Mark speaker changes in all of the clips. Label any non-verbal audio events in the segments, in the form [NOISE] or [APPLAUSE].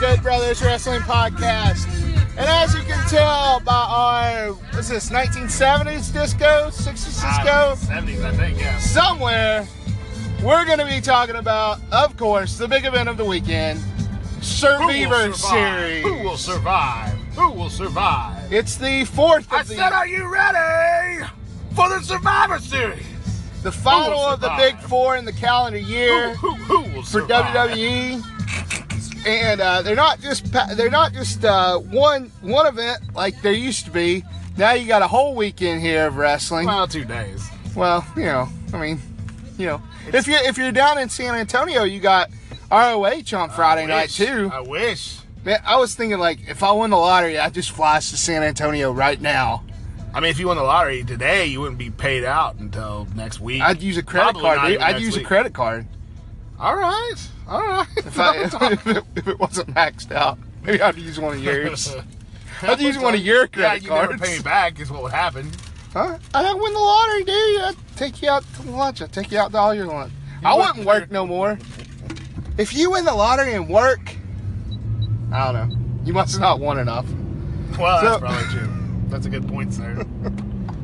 Speaker 1: Good Brothers Wrestling Podcast. And as you can tell by our, what's this, 1970s disco, 60s
Speaker 2: Ah,
Speaker 1: disco,
Speaker 2: 70s, I think, yeah.
Speaker 1: somewhere, we're going to be talking about, of course, the big event of the weekend, Survivor Series.
Speaker 2: Who will survive? Who will survive?
Speaker 1: It's the fourth
Speaker 2: I
Speaker 1: of
Speaker 2: said,
Speaker 1: the,
Speaker 2: are you ready for the Survivor Series?
Speaker 1: the final
Speaker 2: will
Speaker 1: of the big
Speaker 2: survive?
Speaker 1: four in the calendar year.
Speaker 2: Who, who, who will
Speaker 1: for E.
Speaker 2: survive?
Speaker 1: WWE. And uh, they're not just pa- they're not just uh, one one event like there used to be. Now you got a whole weekend here of wrestling.
Speaker 2: Well, two days.
Speaker 1: Well, you know, I mean, you know, if you if you're down in San Antonio, you got ROH on Friday night
Speaker 2: Wish.
Speaker 1: too.
Speaker 2: I wish.
Speaker 1: Man, I was thinking like if I won the lottery, I'd just fly us to San Antonio right now.
Speaker 2: I mean, if you won the lottery today, you wouldn't be paid out until next week.
Speaker 1: I'd use a credit
Speaker 2: Probably not
Speaker 1: card. Dude.
Speaker 2: even
Speaker 1: I'd
Speaker 2: next
Speaker 1: use
Speaker 2: week.
Speaker 1: a credit card
Speaker 2: All right, all right.
Speaker 1: if,
Speaker 2: [LAUGHS]
Speaker 1: I, [LAUGHS] if, it, if it wasn't maxed out. Maybe I'd use one
Speaker 2: [LAUGHS]
Speaker 1: of yours. I'd use one of your credit
Speaker 2: yeah, you never
Speaker 1: cards.
Speaker 2: pay me back is what would happen.
Speaker 1: Huh? I don't win the lottery, dude. I take you out to lunch. I take you out to all your lunch. I
Speaker 2: wouldn't-
Speaker 1: wouldn't work no more. If you win the lottery and work, I don't know. You must not want enough.
Speaker 2: Well,
Speaker 1: So-
Speaker 2: that's probably true. That's a good point,
Speaker 1: [LAUGHS]
Speaker 2: sir.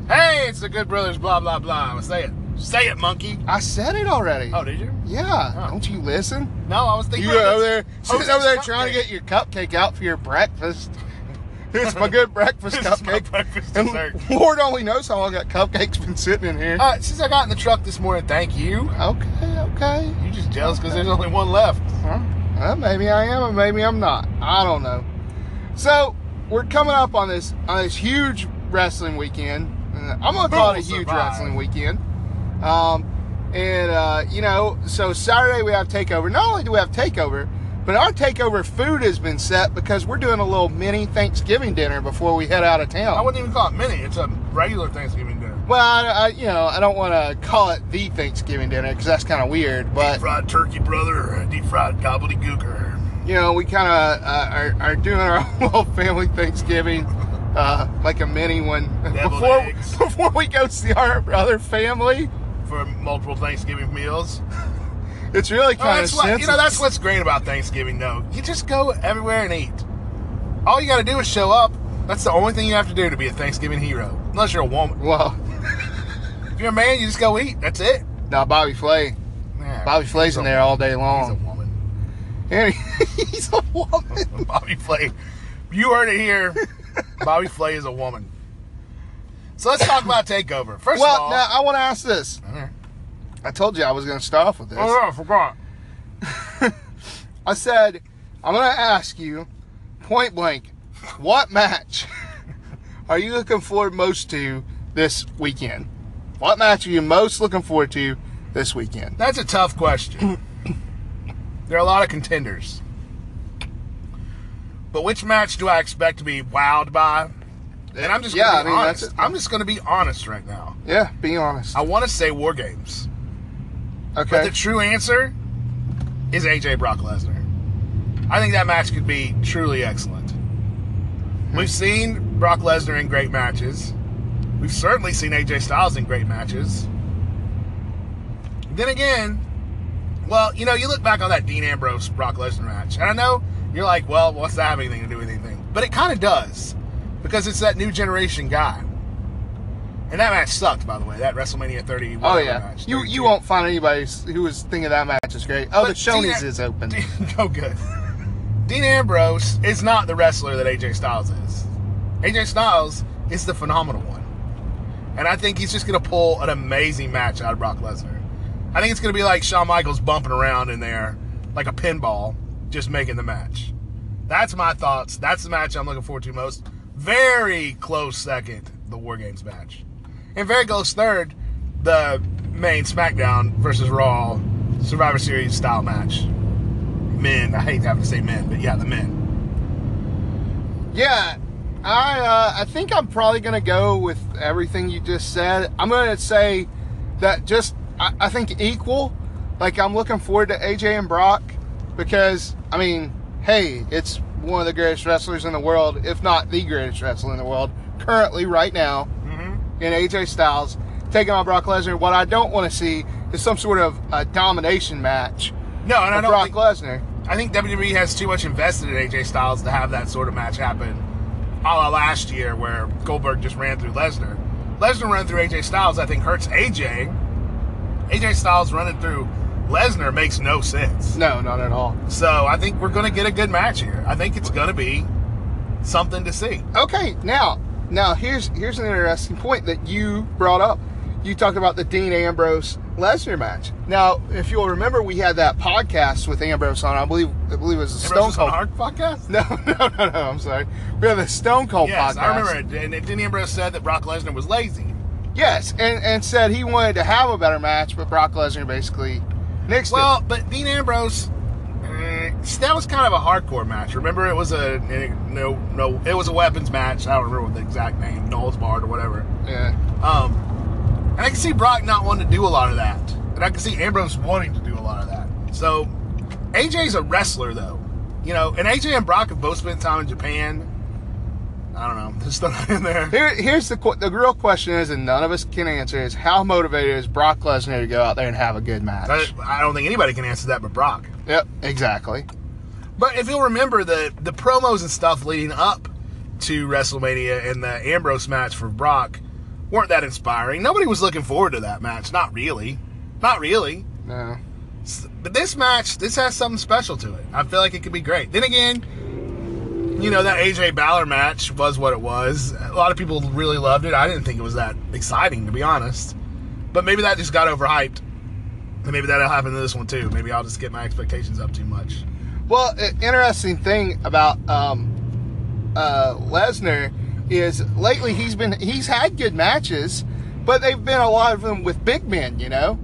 Speaker 2: hey, it's the Good Brothers, blah, blah, blah. Say it. Say it, monkey.
Speaker 1: I said it already.
Speaker 2: Oh, did you?
Speaker 1: yeah.
Speaker 2: Huh.
Speaker 1: Don't you listen?
Speaker 2: No, I was thinking.
Speaker 1: You
Speaker 2: about
Speaker 1: over
Speaker 2: this-
Speaker 1: there sitting
Speaker 2: Hostess
Speaker 1: over there trying to
Speaker 2: cupcake.
Speaker 1: get your cupcake out for your [LAUGHS] breakfast. Here's my good breakfast
Speaker 2: [LAUGHS] This is my
Speaker 1: cupcake.
Speaker 2: breakfast dessert.
Speaker 1: And Lord only knows how long that cupcake's been sitting in here.
Speaker 2: Uh, since I got in the truck this morning, thank you.
Speaker 1: Oh, okay, okay.
Speaker 2: You just jealous because there's only one left.
Speaker 1: Huh? Well, maybe I am, or maybe I'm not. I don't know. So we're coming up on this on this huge wrestling weekend. Uh, I'm gonna call it a
Speaker 2: Who will
Speaker 1: huge
Speaker 2: survive?
Speaker 1: wrestling weekend. Um, and uh, you know, so Saturday we have takeover. Not only do we have takeover, but our takeover food has been set because we're doing a little mini Thanksgiving dinner before we head out of town.
Speaker 2: I wouldn't even call it mini. It's a regular Thanksgiving dinner.
Speaker 1: well, I, I, you know, I don't want to call it the Thanksgiving dinner because that's kind of weird. But
Speaker 2: Fried turkey, brother. Deep fried gobbledygooker.
Speaker 1: you know, we kind of uh, are, are doing our [LAUGHS] own little family Thanksgiving, uh, like a mini one
Speaker 2: Deviled
Speaker 1: before
Speaker 2: eggs.
Speaker 1: [LAUGHS] before we go see our other family.
Speaker 2: for multiple Thanksgiving meals.
Speaker 1: It's really
Speaker 2: Oh,
Speaker 1: kind of
Speaker 2: that's what, you know, that's what's great about Thanksgiving, though. You just go everywhere and eat. All you got to do is show up. That's the only thing you have to do to be a Thanksgiving hero. Unless you're a woman.
Speaker 1: well,
Speaker 2: If you're a man, you just go eat. That's it.
Speaker 1: now Bobby Flay,
Speaker 2: Yeah.
Speaker 1: Bobby Flay's in there all day
Speaker 2: He's a
Speaker 1: long.
Speaker 2: woman.
Speaker 1: And he- [LAUGHS] He's a woman.
Speaker 2: Bobby Flay. You heard it here.
Speaker 1: [LAUGHS]
Speaker 2: Bobby Flay is a woman. So let's talk about Takeover. First of
Speaker 1: Well,
Speaker 2: all,
Speaker 1: now I want to ask this.
Speaker 2: Mhm.
Speaker 1: I told you I was going to start off with this.
Speaker 2: Oh, I forgot.
Speaker 1: I said, I'm going to ask you point blank, what match [LAUGHS] are you looking forward most to this weekend? What match are you most looking forward to this weekend?
Speaker 2: That's a tough question. there are a lot of contenders. But which match do I expect to be wowed by? And I'm just
Speaker 1: Yeah,
Speaker 2: gonna
Speaker 1: I
Speaker 2: be
Speaker 1: mean, that's
Speaker 2: honest.
Speaker 1: it.
Speaker 2: I'm just gonna be honest right now.
Speaker 1: Yeah, be honest.
Speaker 2: I wanna say war games. But
Speaker 1: Okay.
Speaker 2: the true answer is AJ Brock Lesnar. I think that match could be truly excellent. We've seen Brock Lesnar in great matches. We've certainly seen AJ Styles in great matches. Then again, well, you know, you look back on that Dean Ambrose Brock Lesnar match, and I know you're like, well, what's that have anything to do with anything? But it kind of does, because it's that new generation guy. And that match sucked, by the way. That WrestleMania 30.
Speaker 1: Oh
Speaker 2: whatever
Speaker 1: yeah.
Speaker 2: match,
Speaker 1: You you
Speaker 2: 32.
Speaker 1: won't find anybody who was thinking that match is great. Oh, the
Speaker 2: But Dean
Speaker 1: Shoney's
Speaker 2: Am- [LAUGHS]
Speaker 1: is open.
Speaker 2: Dean, oh, good. Dean Ambrose is not the wrestler that AJ Styles is. AJ Styles is the phenomenal one. And I think he's just going to pull an amazing match out of Brock Lesnar. I think it's going to be like Shawn Michaels bumping around in there like a pinball, just making the match. That's my thoughts. That's the match I'm looking forward to most. Very close second, the War Games match. And very close third, the main SmackDown versus Raw Survivor Series style match. Men, I hate having to say men, but yeah, the men.
Speaker 1: Yeah, I uh, I think I'm probably gonna go with everything you just said. I'm gonna say that just I, I think equal. Like I'm looking forward to AJ and Brock because I mean, hey, it's one of the greatest wrestlers in the world, if not the greatest wrestler in the world currently right now
Speaker 2: Mm-hmm.
Speaker 1: in AJ Styles taking on Brock Lesnar. What I don't want to see is some sort of uh, domination match
Speaker 2: No, and I
Speaker 1: of
Speaker 2: don't.
Speaker 1: Brock
Speaker 2: think-
Speaker 1: Lesnar.
Speaker 2: I think WWE has too much invested in AJ Styles to have that sort of match happen, a la last year where Goldberg just ran through Lesnar. Lesnar run through AJ Styles, I think hurts AJ. AJ Styles running through Lesnar makes no sense.
Speaker 1: No, not at all.
Speaker 2: So I think we're going to get a good match here. I think it's going to be something to see.
Speaker 1: Okay, now, now here's here's an interesting point that you brought up. You talked about the Dean Ambrose Lesnar match. Now, if you'll remember, we had that podcast with Ambrose on. I believe I believe it was a Stone
Speaker 2: Ambrose on
Speaker 1: Cold.
Speaker 2: Hard podcast?
Speaker 1: [LAUGHS] No, no, no, no. I'm sorry. We had the Stone Cold
Speaker 2: Yes,
Speaker 1: podcast.
Speaker 2: I remember it. And it- Dean Ambrose said that Brock Lesnar was lazy.
Speaker 1: Yes, and, and said he wanted to have a better match, but Brock Lesnar basically nixed
Speaker 2: Well, but Dean Ambrose, eh, that was kind of a hardcore match. Remember, it was a eh, no, no, it was a weapons match. I don't remember what the exact name, Knowles Bard or whatever.
Speaker 1: it. Yeah.
Speaker 2: Um, and I can see Brock not wanting to do a lot of that, and I can see Ambrose wanting to do a lot of that. So AJ's a wrestler, though. You know, and AJ and Brock have both spent time in Japan. I don't know, [LAUGHS] just throw that in there.
Speaker 1: Here, here's the qu- the real question is, and none of us can answer is how motivated is Brock Lesnar to go out there and have a good match?
Speaker 2: I, I don't think anybody can answer that but Brock.
Speaker 1: Yep, exactly.
Speaker 2: But if you'll remember the the promos and stuff leading up to WrestleMania and the Ambrose match for Brock weren't that inspiring. Nobody was looking forward to that match. Not really. Not really.
Speaker 1: No.
Speaker 2: S- But this match, this has something special to it. I feel like it could be great. Then again, you know that AJ Balor match was what it was. A lot of people really loved it. I didn't think it was that exciting to be honest. But maybe that just got overhyped. And maybe that'll happen to this one too. Maybe I'll just get my expectations up too much.
Speaker 1: Well, i- interesting thing about um, uh, Lesnar is lately he's been he's had good matches, but they've been a lot of them with big men, you know,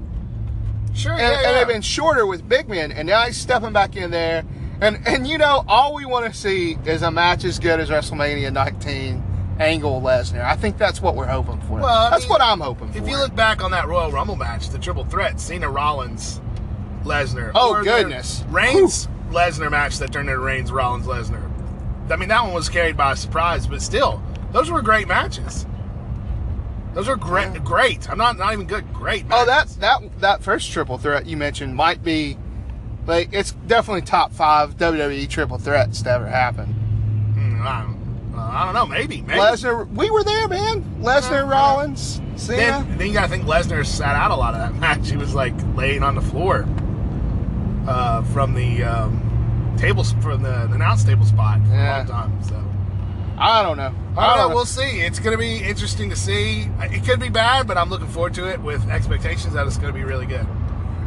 Speaker 2: Sure.
Speaker 1: and, and they've been shorter with big men, and now he's stepping back in there, and and you know all we want to see is a match as good as WrestleMania 19. Angle Lesnar. I think that's what we're hoping for.
Speaker 2: Well, I
Speaker 1: that's
Speaker 2: mean,
Speaker 1: what I'm hoping for.
Speaker 2: If you look back on that Royal Rumble match, the triple threat, Cena Rollins, Lesnar.
Speaker 1: Oh,
Speaker 2: or the
Speaker 1: goodness.
Speaker 2: Reigns Lesnar match that turned into Reigns Rollins Lesnar. I mean, that one was carried by surprise, but still, those were great matches. Those were great. Great. I'm not not even good. Great.
Speaker 1: Oh, that
Speaker 2: matches.
Speaker 1: that that first triple threat you mentioned might be like it's definitely top five WWE triple threats to ever happen.
Speaker 2: Hmm, I, don't, uh, I don't know. Maybe. Maybe.
Speaker 1: Lesnar, we were there, man. Lesnar,
Speaker 2: Yeah.
Speaker 1: Rollins, Cena.
Speaker 2: Then, then you gotta think Lesnar sat out a lot of that [LAUGHS] match. He was like laying on the floor uh, from the um, table from the announce table spot for a
Speaker 1: Yeah.
Speaker 2: long time. So
Speaker 1: I don't know.
Speaker 2: I don't know.
Speaker 1: know.
Speaker 2: We'll see. It's gonna be interesting to see. It could be bad, but I'm looking forward to it with expectations that it's gonna be really good.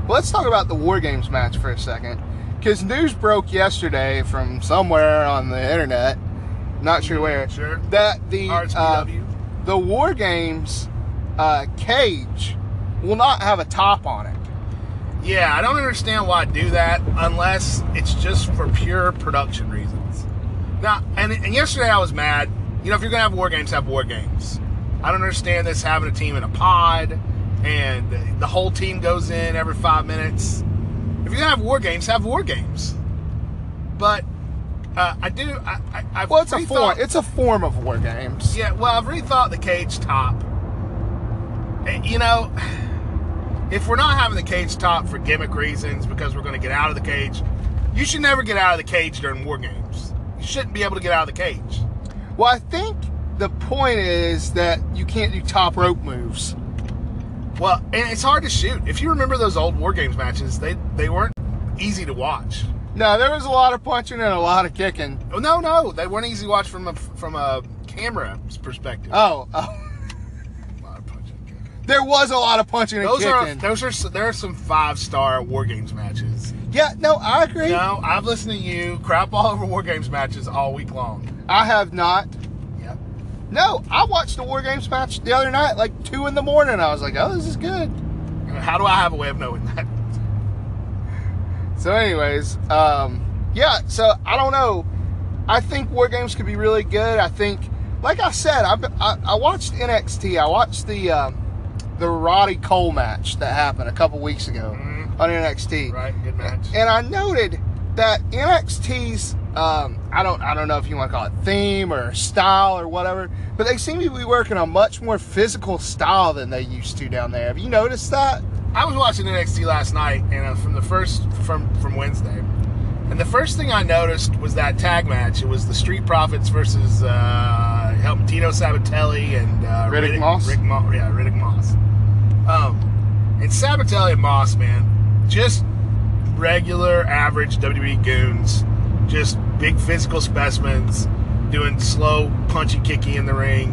Speaker 1: Let's talk about the War Games match for a second, because news broke yesterday from somewhere on the internet, not sure where,
Speaker 2: Sure.
Speaker 1: that the uh,
Speaker 2: RSPW.
Speaker 1: the War Games uh, cage will not have a top on it.
Speaker 2: Yeah, I don't understand why I do that unless it's just for pure production reasons. Now, and, and yesterday I was mad. You know, if you're gonna have war games, have war games. I don't understand this having a team in a pod and the whole team goes in every five minutes. If you're gonna have war games, have war games. But uh, I do. I, I, I've
Speaker 1: Well, it's a
Speaker 2: rethought-
Speaker 1: form. It's a form of War Games.
Speaker 2: yeah, well, I've rethought the cage top. Eh, You know, if we're not having the cage top for gimmick reasons because we're going to get out of the cage, you should never get out of the cage during war games. You shouldn't be able to get out of the cage.
Speaker 1: Well, I think the point is that you can't do top rope moves.
Speaker 2: Well, and it's hard to shoot. If you remember those old war games matches, they they weren't easy to watch.
Speaker 1: No, there was a lot of punching and a lot of kicking.
Speaker 2: Oh no, no, they weren't easy to watch from a from a camera perspective.
Speaker 1: Oh, [LAUGHS] oh.
Speaker 2: A lot of punching and kicking.
Speaker 1: there was a lot of punching and
Speaker 2: Those are
Speaker 1: kicking.
Speaker 2: those are s- there are some five star war games matches.
Speaker 1: yeah, no, I agree.
Speaker 2: No, I've listened to you crap all over War Games matches all week long.
Speaker 1: I have not.
Speaker 2: Yep.
Speaker 1: No, I watched the War Games match the other night, like two in the morning. I was like, oh, this is good.
Speaker 2: How do I have a way of knowing that? [LAUGHS]
Speaker 1: So, anyways, um, yeah. So I don't know. I think War Games could be really good. I think, like I said, I've been, I, I watched NXT. I watched the um, the Roddy Cole match that happened a couple weeks ago
Speaker 2: Mhm.
Speaker 1: on NXT.
Speaker 2: Right, good match.
Speaker 1: and I noted that NXT's um, I don't I don't know if you want to call it theme or style or whatever, but they seem to be working on much more physical style than they used to down there. Have you noticed that?
Speaker 2: I was watching NXT last night, and uh, from the first from from Wednesday, And the first thing I noticed was that tag match. It was the Street Profits versus uh, help Tino Sabatelli and uh,
Speaker 1: Riddick Moss?
Speaker 2: Rick Mo- yeah, Riddick Moss. Um, and Sabatelli and Moss, man, just regular, average WWE goons, just big physical specimens, doing slow, punchy, kicky in the ring.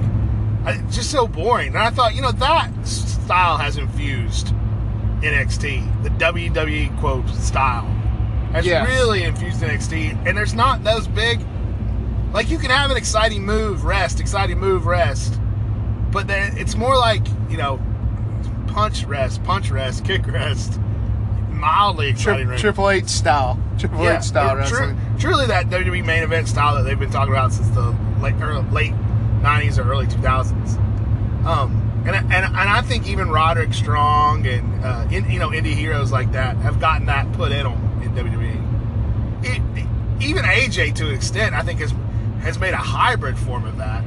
Speaker 2: I, just so boring. And I thought, you know, that style has infused NXT, the WWE quote style, has
Speaker 1: Yes.
Speaker 2: really infused NXT. And there's not those big, like you can have an exciting move, rest, exciting move, rest, but then it's more like you know, punch, rest, punch, rest, kick, rest, mildly exciting.
Speaker 1: Tri-
Speaker 2: ring.
Speaker 1: Triple H style. Triple H style
Speaker 2: it- tru-
Speaker 1: wrestling.
Speaker 2: truly, that WWE main event style that they've been talking about since the late early, late '90s or early 2000s. Um, and I- and and I think even Roderick Strong and uh, in, you know indie heroes like that have gotten that put in them in WWE. It, it- E, even AJ to an extent, I think has has made a hybrid form of that.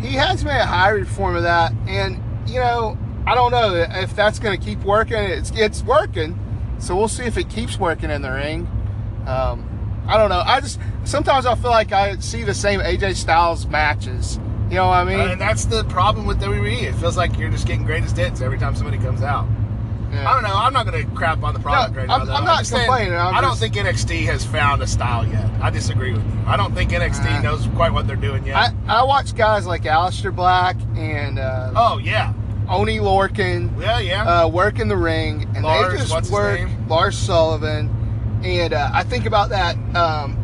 Speaker 1: he has made a hybrid form of that, and you know, I don't know if that's going to keep working. It's it's working, so we'll see if it keeps working in the ring. Um, I don't know. I just sometimes I feel like I see the same AJ Styles matches. You know what I mean?
Speaker 2: and that's the problem with WWE. It feels like you're just getting greatest hits every time somebody comes out.
Speaker 1: Yeah.
Speaker 2: I don't know. I'm not going to crap on the product
Speaker 1: No,
Speaker 2: right now.
Speaker 1: I'm-
Speaker 2: though.
Speaker 1: I'm not
Speaker 2: just saying,
Speaker 1: complaining, I'm
Speaker 2: I don't
Speaker 1: just-
Speaker 2: think NXT has found a style yet. I disagree with you. I don't think NXT
Speaker 1: Uh,
Speaker 2: knows quite what they're doing yet.
Speaker 1: I, I watch guys like Aleister Black and uh,
Speaker 2: oh yeah,
Speaker 1: Oni Lorcan.
Speaker 2: yeah, yeah.
Speaker 1: uh, work in the ring, and
Speaker 2: Lars,
Speaker 1: they just
Speaker 2: what's his
Speaker 1: work
Speaker 2: name?
Speaker 1: Lars Sullivan. And uh, I think about that um,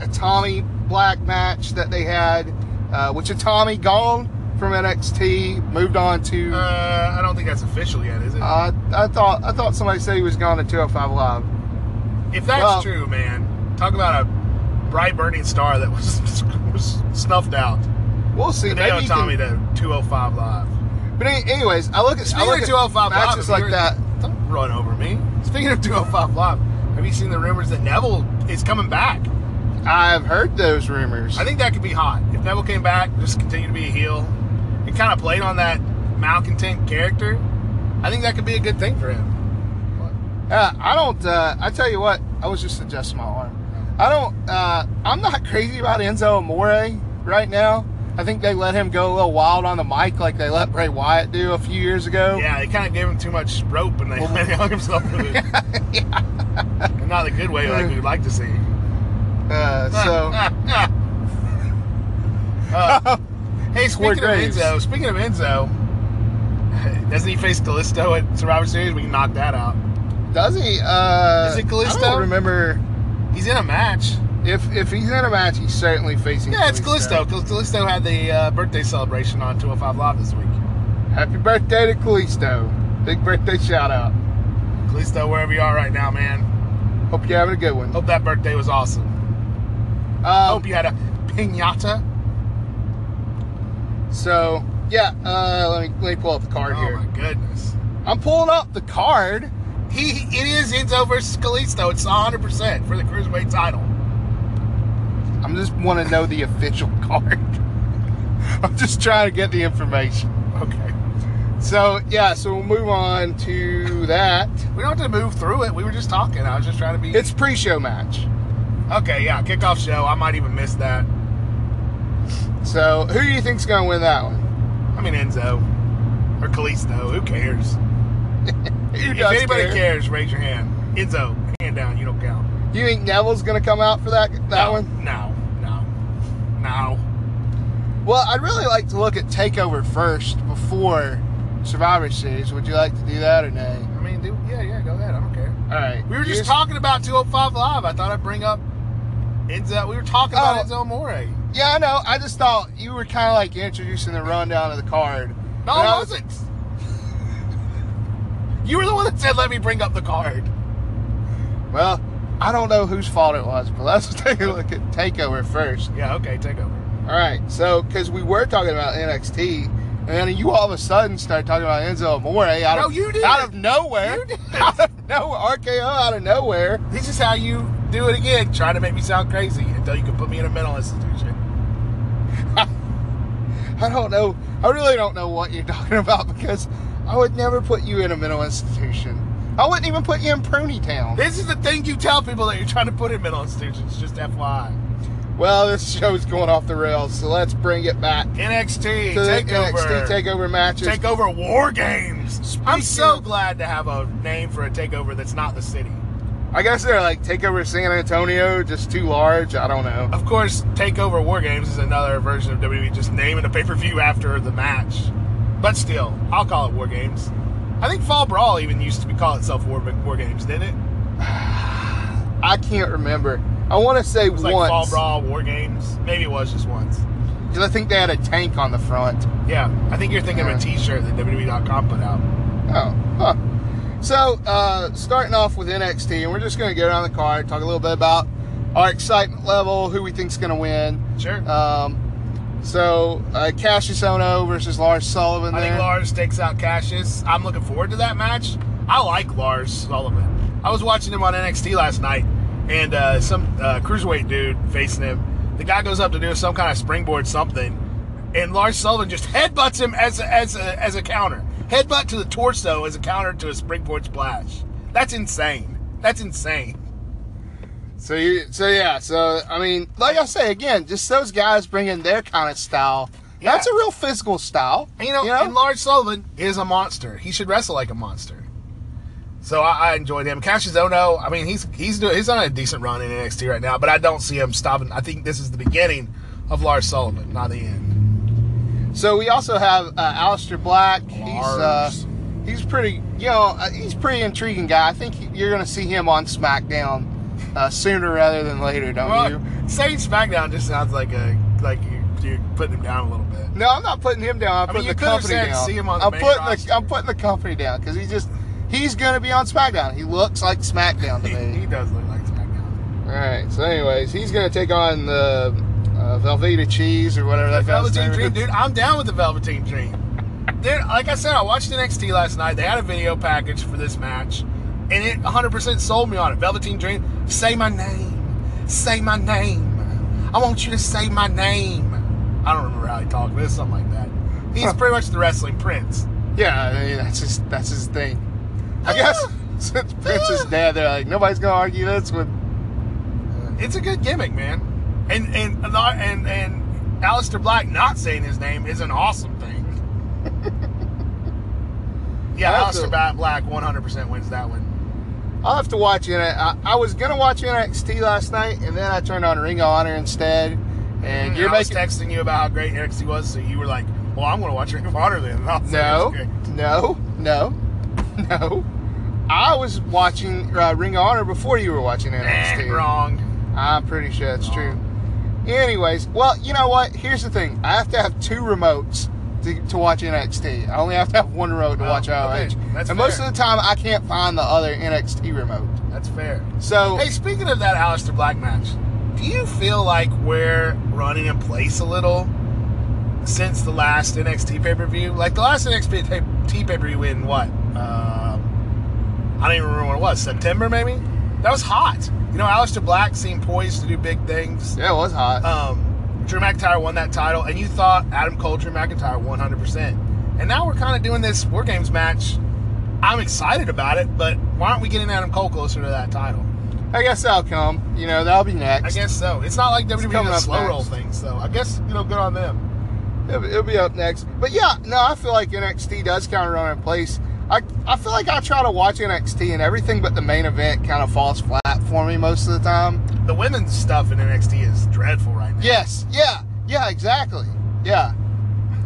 Speaker 1: a Tommy Black match that they had, uh, which a Tommy gone from NXT, moved on to.
Speaker 2: Uh, I don't think that's official yet, is it?
Speaker 1: uh, I thought I thought somebody said he was gone to 205 Live.
Speaker 2: if that's
Speaker 1: well-
Speaker 2: true, man, talk about a bright burning star that was, [LAUGHS] was snuffed out.
Speaker 1: We'll see.
Speaker 2: And they
Speaker 1: Maybe
Speaker 2: owe
Speaker 1: he
Speaker 2: Tommy
Speaker 1: can-
Speaker 2: to 205 live.
Speaker 1: But any- anyways, I look at I
Speaker 2: Speaking
Speaker 1: look
Speaker 2: of
Speaker 1: at
Speaker 2: 205 live,
Speaker 1: matches
Speaker 2: have you
Speaker 1: like
Speaker 2: heard-
Speaker 1: that.
Speaker 2: Don't run over me. Speaking of 205 live, have you seen the rumors that Neville is coming back?
Speaker 1: I've heard those rumors.
Speaker 2: I think that could be hot. If Neville came back, just continue to be a heel, and kind of played on that malcontent character, I think that could be a good thing for him.
Speaker 1: Uh, I don't. Uh, I tell you what. I was just adjusting my arm. I don't. Uh, I'm not crazy about Enzo Amore right now. I think they let him go a little wild on the mic, like they let Bray Wyatt do a few years ago.
Speaker 2: Yeah, they kind of gave him too much rope, and [LAUGHS] they
Speaker 1: Well-
Speaker 2: let him hung himself with it. And Not the good way like we'd like to see.
Speaker 1: [LAUGHS] Uh, so
Speaker 2: [LAUGHS]
Speaker 1: [LAUGHS]
Speaker 2: Uh, hey,
Speaker 1: Corey
Speaker 2: speaking of
Speaker 1: Graves.
Speaker 2: Enzo, speaking of Enzo, [LAUGHS] doesn't he face Callisto at Survivor Series? We can knock that out.
Speaker 1: does he? Uh,
Speaker 2: Is it Kalisto?
Speaker 1: I don't remember
Speaker 2: He's in a match.
Speaker 1: if if he's in a match, he's certainly facing.
Speaker 2: Yeah, it's Callisto. Cal- Callisto had the uh, birthday celebration on 205 Live this week.
Speaker 1: Happy birthday to Callisto! Big birthday shout out.
Speaker 2: Callisto, wherever you are right now, man.
Speaker 1: Hope you're having a good one.
Speaker 2: Hope that birthday was awesome. I
Speaker 1: Um,
Speaker 2: hope you had a pinata.
Speaker 1: so yeah, uh, let me let me pull up the card
Speaker 2: Oh
Speaker 1: here.
Speaker 2: my goodness.
Speaker 1: I'm pulling up the card.
Speaker 2: He it is Enzo versus Callisto. It's 100 percent for the cruiserweight title.
Speaker 1: I'm just want to know the official [LAUGHS] card. I'm just trying to get the information.
Speaker 2: Okay.
Speaker 1: So yeah, so we'll move on to that.
Speaker 2: We don't have to move through it. We were just talking. I was just trying to be.
Speaker 1: It's pre-show match.
Speaker 2: okay. Yeah. Kickoff show. I might even miss that.
Speaker 1: So who do you think's gonna win that one?
Speaker 2: I mean Enzo or Callisto. Who cares?
Speaker 1: Who
Speaker 2: if
Speaker 1: does
Speaker 2: anybody
Speaker 1: care?
Speaker 2: cares, raise your hand. Enzo, hand down. You don't count.
Speaker 1: You think Neville's gonna come out for that that
Speaker 2: no,
Speaker 1: one?
Speaker 2: No. No. No.
Speaker 1: Well, I'd really like to look at Takeover first before Survivor Series. Would you like to do that or nay?
Speaker 2: I mean, dude. Yeah. Yeah. Go ahead. I don't care.
Speaker 1: All right.
Speaker 2: We were just
Speaker 1: Here's-
Speaker 2: talking about 205 Live. I thought I'd bring up Enzo. We were talking about
Speaker 1: Oh.
Speaker 2: Enzo Amore.
Speaker 1: Yeah, I know. I just thought you were kind of like introducing the rundown of the card.
Speaker 2: No,
Speaker 1: But I
Speaker 2: I
Speaker 1: was-
Speaker 2: wasn't. [LAUGHS] You were the one that said, let me bring up the card.
Speaker 1: Well, I don't know whose fault it was, but let's [LAUGHS] take a look at Takeover first.
Speaker 2: Yeah, okay, take over.
Speaker 1: All right, so because we were talking about NXT, and then you all of a sudden started talking about Enzo Amore out
Speaker 2: No,
Speaker 1: of
Speaker 2: you did.
Speaker 1: out of nowhere,
Speaker 2: You did.
Speaker 1: [LAUGHS] out of nowhere, RKO out of nowhere.
Speaker 2: This is how you do it again, trying to make me sound crazy until you can put me in a mental institution.
Speaker 1: I don't know. [LAUGHS] I really don't know what you're talking about because I would never put you in a mental institution. I wouldn't even put you in Pruny Town.
Speaker 2: This is the thing you tell people that you're trying to put him in on stage. It's just FYI.
Speaker 1: Well, this show's going off the rails, so let's bring it back
Speaker 2: NXT
Speaker 1: to the
Speaker 2: takeover.
Speaker 1: NXT Takeover matches.
Speaker 2: takeover War Games. I'm so
Speaker 1: of-
Speaker 2: glad to have a name for a takeover that's not the city.
Speaker 1: I guess they're like Takeover San Antonio, just too large. I don't know.
Speaker 2: Of course, Takeover War Games is another version of WWE just naming a pay per view after the match. But still, I'll call it War Games. I think Fall Brawl even used to be call itself War, War Games, didn't it?
Speaker 1: I can't remember. I want to say
Speaker 2: It was like Fall
Speaker 1: once
Speaker 2: Brawl, War Games. Maybe it was just once.
Speaker 1: because I think they had a tank on the front.
Speaker 2: Yeah, I think you're thinking
Speaker 1: Yeah.
Speaker 2: of a T-shirt that WWE.com put out.
Speaker 1: Oh, huh. So, uh, starting off with NXT, and we're just going to go down the card, talk a little bit about our excitement level, who we think's going to win.
Speaker 2: Sure.
Speaker 1: Um, so, uh, Cassius Ono versus Lars Sullivan
Speaker 2: I
Speaker 1: there.
Speaker 2: think Lars takes out Cassius. I'm looking forward to that match. I like Lars Sullivan. I was watching him on NXT last night, and uh, some uh, cruiserweight dude facing him. The guy goes up to do some kind of springboard something, and Lars Sullivan just headbutts him as a, as a, as a counter. Headbutt to the torso as a counter to a springboard splash. That's insane. That's insane.
Speaker 1: so, you, so yeah, so, I mean, like I say, again, just those guys bringing their kind of style.
Speaker 2: Yeah.
Speaker 1: That's a real physical style.
Speaker 2: And, you know, and Lars Sullivan is a monster. He should wrestle like a monster. So I, I enjoyed him. Cassius Ono, I mean, he's he's doing he's on a decent run in NXT right now, but I don't see him stopping. I think this is the beginning of Lars Sullivan, not the end.
Speaker 1: So we also have uh, Alistair Black. He's uh,
Speaker 2: Lars.
Speaker 1: he's pretty, you know, uh, he's a pretty intriguing guy. I think you're going to see him on SmackDown uh, sooner rather than later, don't
Speaker 2: Well,
Speaker 1: you?
Speaker 2: saying SmackDown just sounds like a like you, you're putting him down a little bit.
Speaker 1: No, I'm not putting him down. I'm
Speaker 2: I mean,
Speaker 1: putting
Speaker 2: you
Speaker 1: the
Speaker 2: could have
Speaker 1: company
Speaker 2: said
Speaker 1: down.
Speaker 2: see him on the
Speaker 1: I'm
Speaker 2: main
Speaker 1: putting
Speaker 2: roster.
Speaker 1: the I'm putting the company down because he just he's going to be on SmackDown. He looks like SmackDown to
Speaker 2: He, [LAUGHS] he
Speaker 1: me.
Speaker 2: does look like SmackDown.
Speaker 1: All right. So, anyways, he's going to take on the uh, Velveeta Cheese or whatever
Speaker 2: The
Speaker 1: that guy's
Speaker 2: Velveteen
Speaker 1: name
Speaker 2: Dream,
Speaker 1: is.
Speaker 2: dude. I'm down with the Velveteen Dream. Dude, like I said, I watched NXT last night. They had a video package for this match, and it 100% sold me on it. Velveteen Dream, say my name, say my name. I want you to say my name. I don't remember how he talked, but it's something like that. He's
Speaker 1: Huh.
Speaker 2: pretty much the wrestling prince.
Speaker 1: Yeah, I mean, that's his that's his thing. I
Speaker 2: Ah.
Speaker 1: guess [LAUGHS] since Prince is
Speaker 2: Ah.
Speaker 1: dead, they're like nobody's gonna argue this with.
Speaker 2: It's a good gimmick, man. And and and and Alistair Black not saying his name is an awesome
Speaker 1: [LAUGHS]
Speaker 2: thing. yeah,
Speaker 1: I have
Speaker 2: Alistair
Speaker 1: to-
Speaker 2: Black 100% wins that one.
Speaker 1: I'll have to watch it. I, I was gonna watch NXT last night, and then I turned on Ring of Honor instead. And you're
Speaker 2: Mm, I was
Speaker 1: making
Speaker 2: texting you about how great NXT was, so you were like, "Well, I'm going to watch Ring of Honor then." [LAUGHS] And I was like,
Speaker 1: no,
Speaker 2: "That's great."
Speaker 1: no, no, [LAUGHS] no. I was watching uh, Ring of Honor before you were watching NXT.
Speaker 2: Eh, wrong.
Speaker 1: I'm pretty sure that's true. Anyways, well, you know what? Here's the thing. I have to have two remotes to, to watch NXT. I only have to have one remote to
Speaker 2: Oh,
Speaker 1: watch ROH.
Speaker 2: okay.
Speaker 1: and
Speaker 2: That's
Speaker 1: most
Speaker 2: fair.
Speaker 1: of the time, I can't find the other NXT remote.
Speaker 2: That's fair.
Speaker 1: So,
Speaker 2: Hey, speaking of that Aleister Black match, do you feel like we're running in place a little since the last NXT pay per view? Like the last NXT pay per view in what? Uh, I don't even remember when it was. September maybe. That was hot. You know, Aleister Black seemed poised to do big things.
Speaker 1: yeah, it was hot.
Speaker 2: um, Drew McIntyre won that title, and you thought Adam Cole, Drew McIntyre, 100%. And now we're kind of doing this War Games match. I'm excited about it, but why aren't we getting Adam Cole closer to that title?
Speaker 1: I guess that'll come. You know, that'll be next.
Speaker 2: I guess so. It's not like WWE
Speaker 1: coming
Speaker 2: does
Speaker 1: up
Speaker 2: slow
Speaker 1: next.
Speaker 2: roll things, so I guess, you know, good on them.
Speaker 1: It'll, it'll be up next. But yeah, no, I feel like NXT does kind of run in place. I, I feel like I try to watch NXT and everything but the main event kind of falls flat for me most of the time.
Speaker 2: The women's stuff in NXT is dreadful right now.
Speaker 1: Yes. Yeah. Yeah. Exactly. Yeah.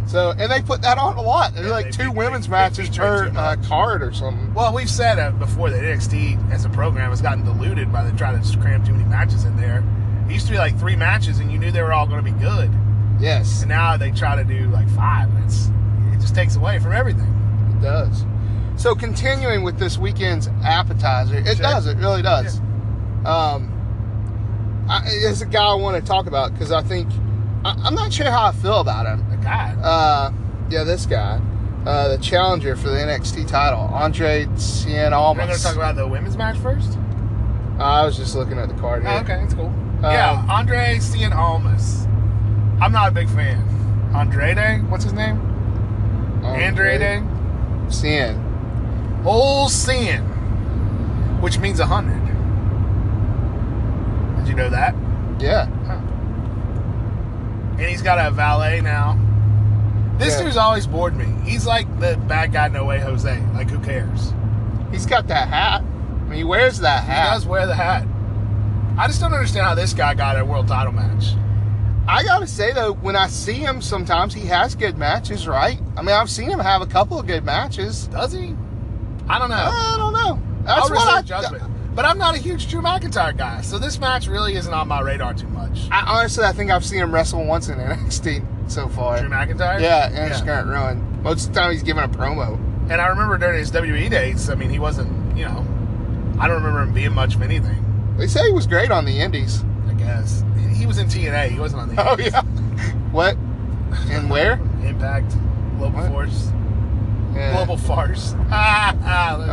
Speaker 1: So, and they put that on a lot. There's
Speaker 2: Yeah,
Speaker 1: like
Speaker 2: they
Speaker 1: two
Speaker 2: beat-
Speaker 1: women's
Speaker 2: they- they
Speaker 1: matches
Speaker 2: feature
Speaker 1: per
Speaker 2: it too
Speaker 1: uh,
Speaker 2: much.
Speaker 1: card or something.
Speaker 2: Well, we've said uh, before that NXT as a program has gotten diluted by the trying to cram too many matches in there. It used to be like three matches, and you knew they were all going to be good.
Speaker 1: Yes,
Speaker 2: And now they try to do like five, and it's it just takes away from everything.
Speaker 1: it does. So, continuing with this weekend's appetizer, it
Speaker 2: Sure.
Speaker 1: does. It really does. Um, I, it's a guy I want to talk about because I think I, I'm not sure how I feel about him.
Speaker 2: Like, God,
Speaker 1: Uh, yeah, this guy, uh, the challenger for the NXT title, Andre Cien
Speaker 2: we're going to
Speaker 1: Almas.
Speaker 2: talk about the women's match first.
Speaker 1: I was just looking at the card here.
Speaker 2: Oh, okay, that's cool.
Speaker 1: Uh,
Speaker 2: yeah, Andre Cien Almas. I'm not a big fan. Andre Day, what's his name? Andre Day.
Speaker 1: Cien.
Speaker 2: Old Cien. which means 100. Did you know that?
Speaker 1: Yeah.
Speaker 2: And he's got a valet now. This
Speaker 1: Yeah.
Speaker 2: dude's always bored me. He's like the bad guy, no way, Jose. Like, who cares?
Speaker 1: He's got that hat. I mean, he wears that
Speaker 2: He
Speaker 1: hat.
Speaker 2: does wear the hat. I just don't understand how this guy got a world title match.
Speaker 1: I gotta say though, when I see him, sometimes he has good matches, right? I mean, I've seen him have a couple of good matches.
Speaker 2: Does he? I don't know.
Speaker 1: I don't know. Ah, That's
Speaker 2: I'll
Speaker 1: what I
Speaker 2: reserve judgment. But I'm not a huge Drew McIntyre guy, so this match really isn't on my radar too much.
Speaker 1: I honestly, I think I've seen him wrestle once in [LAUGHS] NXT so far.
Speaker 2: Drew McIntyre?
Speaker 1: Yeah, in his current run. Most of the time, he's giving a promo.
Speaker 2: And I remember during his WWE days, I mean, he wasn't, you know, I don't remember him being much of anything,
Speaker 1: They say he was great on the
Speaker 2: [LAUGHS]
Speaker 1: Indies.
Speaker 2: I guess. He was in TNA, he wasn't on the
Speaker 1: Oh yeah. What? [LAUGHS] And where?
Speaker 2: Impact, Global
Speaker 1: What?
Speaker 2: Force,
Speaker 1: Yeah.
Speaker 2: Global [LAUGHS] Farce. Ah, ah,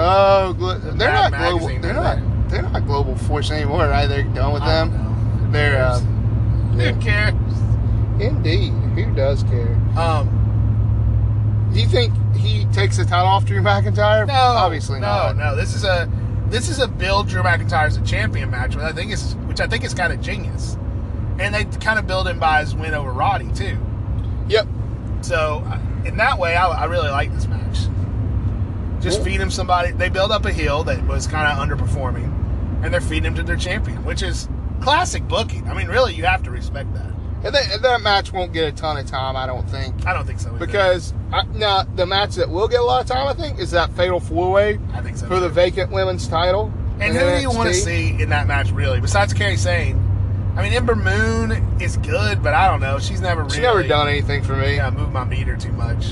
Speaker 1: Oh, glo- they're
Speaker 2: Mad
Speaker 1: not global.
Speaker 2: Magazine,
Speaker 1: They're
Speaker 2: isn't
Speaker 1: not. They're not global force anymore, right? They're done with
Speaker 2: I don't
Speaker 1: Oh, them.
Speaker 2: know.
Speaker 1: They're uh,
Speaker 2: Who
Speaker 1: yeah.
Speaker 2: cares?
Speaker 1: indeed. Who does care?
Speaker 2: Um,
Speaker 1: Do you think he takes the title off Drew McIntyre?
Speaker 2: no,
Speaker 1: obviously
Speaker 2: no,
Speaker 1: not.
Speaker 2: no. This is a this is a build Drew McIntyre as a champion match, which I think is which I think is kind of genius, and they kind of build him by his win over Roddy too.
Speaker 1: Yep.
Speaker 2: So I- in that way, I, I really like this match. Just
Speaker 1: Cool.
Speaker 2: feed him somebody. They build up a heel that was kind of underperforming, and they're feeding him to their champion, which is classic booking. I mean, really, you have to respect that.
Speaker 1: And that, that match won't get a ton of time, I don't think,
Speaker 2: I don't think so. either.
Speaker 1: because I, now the match that will get a lot of time, I think, is that fatal four way
Speaker 2: I think so.
Speaker 1: for the
Speaker 2: too.
Speaker 1: vacant women's title.
Speaker 2: and
Speaker 1: in
Speaker 2: who do you
Speaker 1: NXT.
Speaker 2: want to see in that match really? Besides Kerry Sane, I mean, Ember Moon is good, but I don't know. She's never really
Speaker 1: She's never done anything for me.
Speaker 2: Yeah, I moved my meter too much.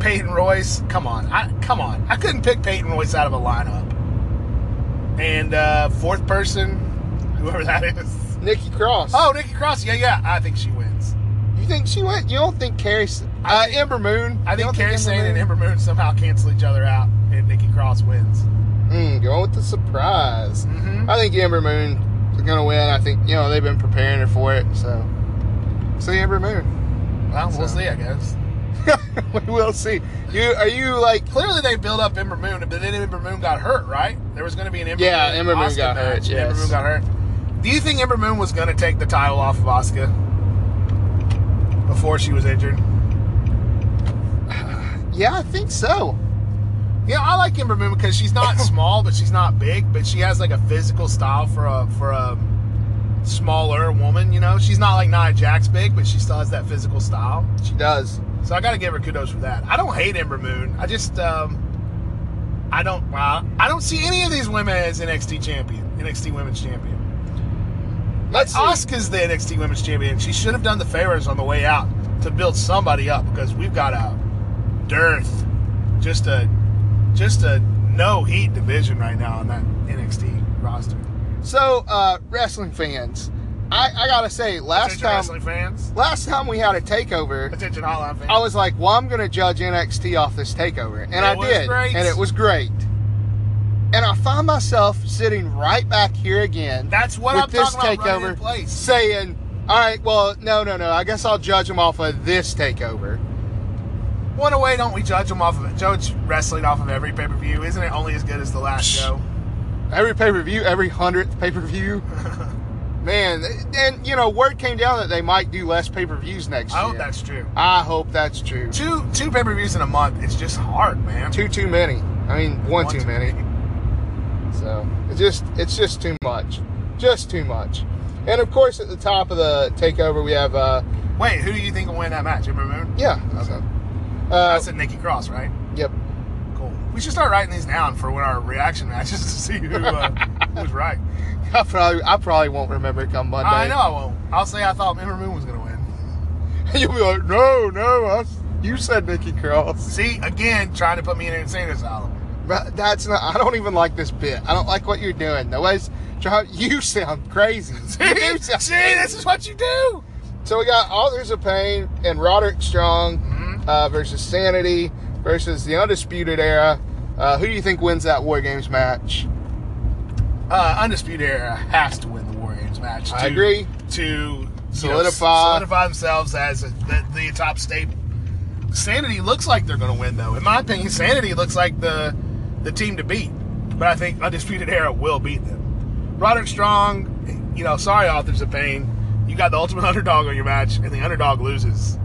Speaker 2: Peyton Royce, come on, I come on. I couldn't pick Peyton Royce out of a lineup. And uh, fourth person, [LAUGHS] whoever that is.
Speaker 1: Nikki Cross.
Speaker 2: Oh, Nikki Cross. Yeah, yeah. I think she wins.
Speaker 1: you think she went? You don't think Carrie? S- Uh, Ember Moon.
Speaker 2: I
Speaker 1: You don't
Speaker 2: think Kerry Sane
Speaker 1: Moon-
Speaker 2: and Ember Moon somehow cancel each other out, and Nikki Cross wins.
Speaker 1: Mm, going with the surprise.
Speaker 2: Mhm.
Speaker 1: I think Amber Moon is going to win. I think, you know, they've been preparing her for it. So, see Amber Moon. [LAUGHS]
Speaker 2: Well, we'll
Speaker 1: So.
Speaker 2: see, I guess.
Speaker 1: we will see. You Are you like,
Speaker 2: Clearly, they built up Ember Moon, but then Ember Moon got hurt, right? There was going to be an Ember
Speaker 1: Yeah,
Speaker 2: Moon
Speaker 1: Ember Moon
Speaker 2: Asuka
Speaker 1: got hurt,
Speaker 2: match, and Ember
Speaker 1: yes.
Speaker 2: Moon got hurt. Do you think Ember Moon was going to take the title off of Asuka before she was injured?
Speaker 1: yeah, I think so.
Speaker 2: Yeah, I like Ember Moon because she's
Speaker 1: [COUGHS]
Speaker 2: not small, but she's not big, but she has like a physical style for a for a smaller woman. You know, she's not like Nia Jax big, but she still has that physical style.
Speaker 1: She does.
Speaker 2: So I got to give her kudos for that. I don't hate Ember Moon. I just um, I don't well, I don't see any of these women as NXT champion, NXT Women's Champion.
Speaker 1: Let's see.
Speaker 2: Asuka's the NXT Women's Champion. She should have done the favors on the way out to build somebody up because we've got a dearth, just a just a no heat division right now on that NXT roster.
Speaker 1: So, uh, wrestling fans, I, I got to say, last
Speaker 2: Attention
Speaker 1: time,
Speaker 2: wrestling fans,
Speaker 1: last time we had a takeover,
Speaker 2: attention hotline fans.
Speaker 1: I was like, well, I'm going to judge NXT off this takeover. And I
Speaker 2: was
Speaker 1: did.
Speaker 2: great.
Speaker 1: And it was great. And I find myself sitting right back here again.
Speaker 2: That's what
Speaker 1: with
Speaker 2: I'm
Speaker 1: this
Speaker 2: talking about. Right
Speaker 1: takeover
Speaker 2: in place.
Speaker 1: saying, all right, well, no, no, no. I guess I'll judge him off of this takeover.
Speaker 2: One away, don't we judge them off of it? Judge wrestling off of every pay per view. Isn't it only as good as the last show?
Speaker 1: Every pay per view, every hundredth pay per view. Man, and you know, word came down that they might do less pay per views next
Speaker 2: [LAUGHS] I
Speaker 1: year.
Speaker 2: hope that's true.
Speaker 1: I hope that's true.
Speaker 2: Two two pay per views in a month. It's just hard, man.
Speaker 1: Too too many. I mean, one,
Speaker 2: One
Speaker 1: too
Speaker 2: too
Speaker 1: many. So it's just it's just too much, just too much. And of course, at the top of the takeover, we have uh,
Speaker 2: Wait, who do you think will win that match? Ember Moon.
Speaker 1: yeah,
Speaker 2: I
Speaker 1: uh,
Speaker 2: said Nikki Cross, right?
Speaker 1: yep.
Speaker 2: Cool. We should start writing these down for when our reaction matches [LAUGHS] to see who uh, who was
Speaker 1: [LAUGHS]
Speaker 2: right.
Speaker 1: I probably I probably won't remember come Monday.
Speaker 2: I know I won't. I'll say I thought Ember Moon was gonna win.
Speaker 1: [LAUGHS] You'll be like, no, no, I, you said Nikki Cross.
Speaker 2: See, again, trying to put me in an insane asylum.
Speaker 1: But that's not, I don't even like this bit. I don't like what you're doing. Nobody's trying, [LAUGHS] you sound crazy. [LAUGHS]
Speaker 2: See,
Speaker 1: [LAUGHS] You do sound-
Speaker 2: [LAUGHS] see, this is what you do.
Speaker 1: So we got Authors of Pain and Roderick Strong uh, versus Sanity versus the Undisputed Era. Uh, who do you think wins that War Games match?
Speaker 2: uh, Undisputed Era has to win the War Games match.
Speaker 1: I agree.
Speaker 2: To you know,
Speaker 1: Solidify.
Speaker 2: solidify themselves as a, the, the top staple. Sanity looks like they're going to win, though. In my opinion, Sanity looks like the the team to beat. but I think Undisputed Era will beat them. Roderick Strong, you know, sorry, authors of pain. You got the ultimate [LAUGHS] underdog on your match, and the underdog loses.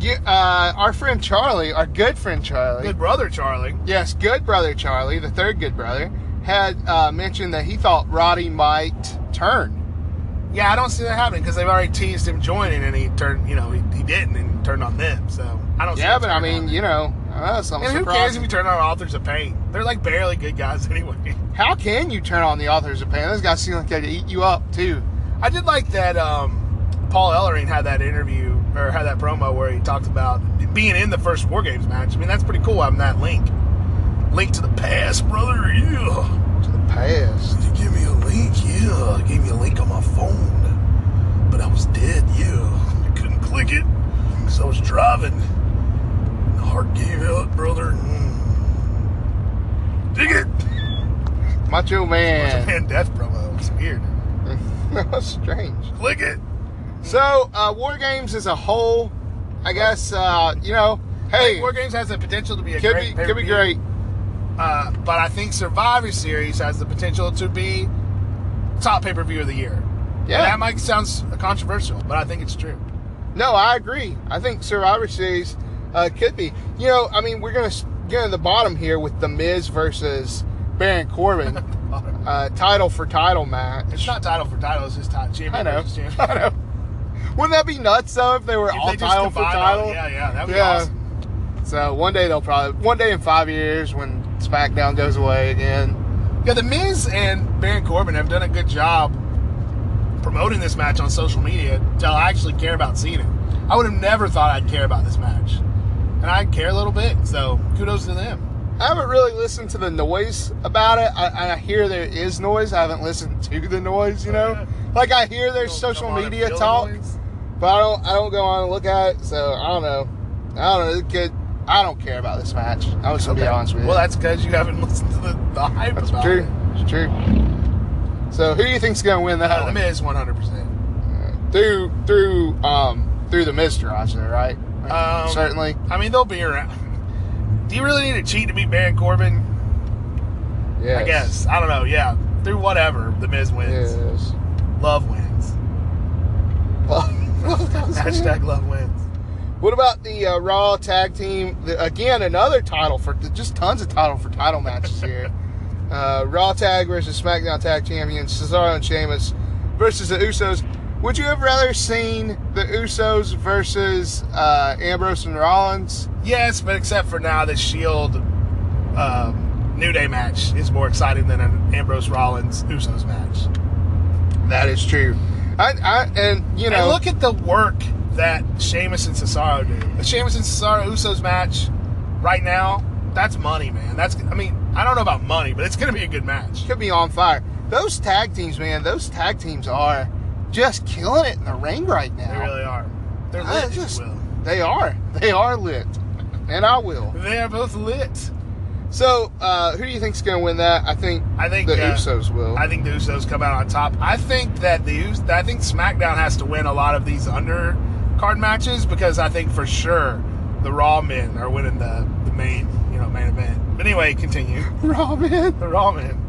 Speaker 1: Yeah, uh, our friend Charlie, our good friend Charlie,
Speaker 2: Good brother, Charlie.
Speaker 1: yes, good brother Charlie, the third good brother, had uh, mentioned that he thought Roddy might turn.
Speaker 2: Yeah, I don't see that happening because they've already teased him joining, and he turned. You know, he, he didn't, and turned on them. So I don't. see
Speaker 1: Yeah,
Speaker 2: that
Speaker 1: but I
Speaker 2: turning on
Speaker 1: mean,
Speaker 2: them.
Speaker 1: you know, uh, some
Speaker 2: and who cares if you turn on authors of pain? They're like barely good guys [LAUGHS] anyway.
Speaker 1: How can you turn on the authors of pain? Those guys seem like they'd eat you up too.
Speaker 2: I did like that um, Paul Ellering had that interview or had that promo where he talked about being in the first War Games match. I mean, that's pretty cool. I'm that link. Link to the past, brother. Yeah.
Speaker 1: To the past.
Speaker 2: You give me a link. Yeah. I gave me a link on my phone. But I was dead. Yeah. [LAUGHS] I couldn't click it because I was driving. The heart gave out, brother. Mm. Dig it.
Speaker 1: Macho [LAUGHS] Man.
Speaker 2: [LAUGHS] Man, death promo. It's weird.
Speaker 1: that was strange.
Speaker 2: Click it.
Speaker 1: So, uh, War Games as a whole, I guess, uh, you know, hey,
Speaker 2: War Games has the potential to be a
Speaker 1: could
Speaker 2: great
Speaker 1: be, could be
Speaker 2: pay-per-view.
Speaker 1: great.
Speaker 2: Uh, but I think Survivor Series has the potential to be top pay per view of the year.
Speaker 1: Yeah.
Speaker 2: that might sound s- controversial, but I think it's true.
Speaker 1: No, I agree. I think Survivor Series uh, could be. You know, I mean, we're going to get to the bottom here with The Miz versus Baron
Speaker 2: [LAUGHS]
Speaker 1: Corbin uh, title for title match.
Speaker 2: It's not title for title; it's just title champion.
Speaker 1: I know.
Speaker 2: versus
Speaker 1: [LAUGHS]
Speaker 2: champion.
Speaker 1: I know. Wouldn't that be nuts though if they were
Speaker 2: If
Speaker 1: all
Speaker 2: they just
Speaker 1: title for
Speaker 2: combine all-
Speaker 1: title?
Speaker 2: yeah, yeah, that'd be awesome.
Speaker 1: So one day they'll probably one day in five years when SmackDown goes away again.
Speaker 2: Yeah, the Miz and Baron Corbin have done a good job promoting this match on social media till I actually care about seeing it. I would have never thought I'd care about this match, and I care a little bit. So kudos to them.
Speaker 1: I haven't really listened to the noise about it. I, I hear there is noise. I haven't listened to the noise. You know,
Speaker 2: Oh, Yeah.
Speaker 1: like I hear there's
Speaker 2: Don't
Speaker 1: social
Speaker 2: come on and
Speaker 1: media
Speaker 2: feel the
Speaker 1: talk,
Speaker 2: noise.
Speaker 1: but I don't. I don't go on and look at it. So I don't know. I don't know. It could, I don't care about this match. I'm just gonna be
Speaker 2: Okay.
Speaker 1: honest with you.
Speaker 2: Well, that's because you haven't [LAUGHS] listened to the, the hype
Speaker 1: That's
Speaker 2: about
Speaker 1: true.
Speaker 2: it.
Speaker 1: It's true. So who do you think's gonna win that?
Speaker 2: Uh,
Speaker 1: one?
Speaker 2: the Miz, one hundred percent.
Speaker 1: through through um through the Mister, I say, right? Um, Certainly.
Speaker 2: Um, I mean, they'll be around. [LAUGHS] Do you really need to cheat to beat Baron Corbin?
Speaker 1: Yes.
Speaker 2: I guess. I don't know. Yeah, through whatever the Miz wins.
Speaker 1: Yes. [LAUGHS]
Speaker 2: Love wins. Hashtag love wins.
Speaker 1: what about the uh, Raw tag team? The, again, another title for just tons of title for title matches [LAUGHS] here. Uh, Raw tag versus SmackDown tag champions Cesaro and Sheamus versus the Usos. Would you have rather seen the Usos versus uh, Ambrose and Rollins?
Speaker 2: Yes, but except for now, the Shield um, New Day match is more exciting than an Ambrose Rollins Usos match.
Speaker 1: That is true. I, I and you know
Speaker 2: and look at the work that Sheamus and Cesaro do. The Sheamus and Cesaro Usos match right now, that's money, man. That's I mean, I don't know about money, but it's gonna be a good match.
Speaker 1: could be on fire. Those tag teams, man, those tag teams are just killing it in the ring right now.
Speaker 2: They really are. They're
Speaker 1: I
Speaker 2: lit, if you
Speaker 1: just-
Speaker 2: will.
Speaker 1: They are. They are lit. And I will.
Speaker 2: They are both lit.
Speaker 1: So, uh, who do you think's going to win that? I think
Speaker 2: I think
Speaker 1: the
Speaker 2: uh,
Speaker 1: Usos will.
Speaker 2: I think the Usos come out on top. I think that the Us- I think SmackDown has to win a lot of these undercard matches because I think for sure the Raw men are winning the, the main you know main event. But anyway, continue.
Speaker 1: [LAUGHS] Robin.
Speaker 2: The Raw men.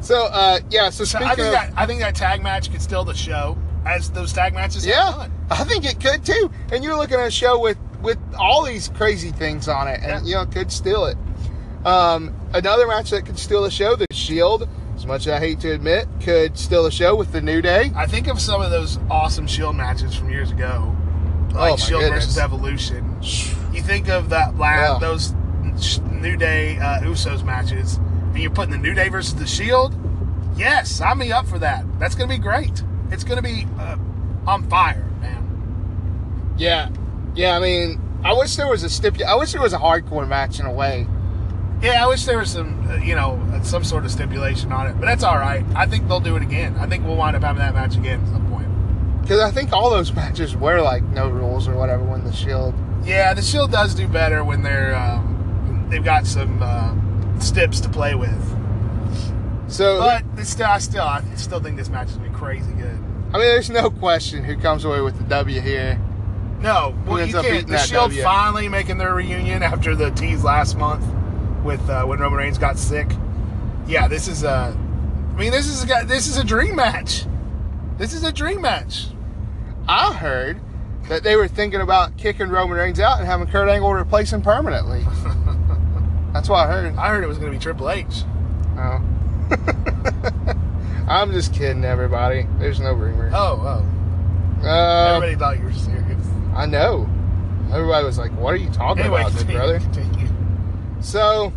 Speaker 1: So, uh, yeah, so
Speaker 2: So
Speaker 1: speaking
Speaker 2: I think
Speaker 1: of,
Speaker 2: that I think that tag match could steal the show as those tag matches. have
Speaker 1: Yeah,
Speaker 2: done.
Speaker 1: I think it could too. And you're looking at a show with with all these crazy things on it, and
Speaker 2: Yeah.
Speaker 1: you know, it could steal it. Um, another match that could steal the show, the Shield. As much as I hate to admit, could steal the show with the New Day.
Speaker 2: I think of some of those awesome Shield E matches from years ago, like
Speaker 1: Oh my
Speaker 2: Shield
Speaker 1: goodness.
Speaker 2: E versus Evolution. You think of that last
Speaker 1: Yeah.
Speaker 2: those sh- New Day uh, Usos matches, and you're putting the New Day versus the Shield. E Yes, sign me up for that. That's gonna be great. It's gonna be uh, on fire, man.
Speaker 1: Yeah, yeah. I mean, I wish there was a stipul. I wish there was a hardcore match in a way.
Speaker 2: Yeah, I wish there was some, uh, you know, some sort of stipulation on it, but that's all right. I think they'll do it again. I think we'll wind up having that match again at some point.
Speaker 1: Because I think all those [LAUGHS] matches were like no rules or whatever when the Shield.
Speaker 2: Yeah, the Shield does do better when they're um, they've got some uh, stips to play with.
Speaker 1: So
Speaker 2: But it's still, I still, I still think this match is gonna be crazy good.
Speaker 1: I mean, there's no question who comes away with the W here.
Speaker 2: No,
Speaker 1: Who
Speaker 2: well,
Speaker 1: ends
Speaker 2: you
Speaker 1: up
Speaker 2: can't.
Speaker 1: beating
Speaker 2: The
Speaker 1: that
Speaker 2: Shield
Speaker 1: W?
Speaker 2: finally making their reunion after the tease last month. with uh, when Roman Reigns got sick. Yeah, this is a. I mean, this is a guy- this is a dream match. This is a dream match.
Speaker 1: I heard that they were thinking about kicking Roman Reigns out and having Kurt Angle replace him
Speaker 2: [LAUGHS]
Speaker 1: permanently. That's what I heard.
Speaker 2: I heard it was going to be Triple H.
Speaker 1: Oh. [LAUGHS] I'm just kidding, everybody. There's no rumor.
Speaker 2: Oh, oh.
Speaker 1: Uh,
Speaker 2: Everybody thought you were serious.
Speaker 1: I know. Everybody was like, "What are you talking
Speaker 2: Anyway,
Speaker 1: about,
Speaker 2: [LAUGHS]
Speaker 1: big
Speaker 2: continue,
Speaker 1: brother?"
Speaker 2: continue.
Speaker 1: So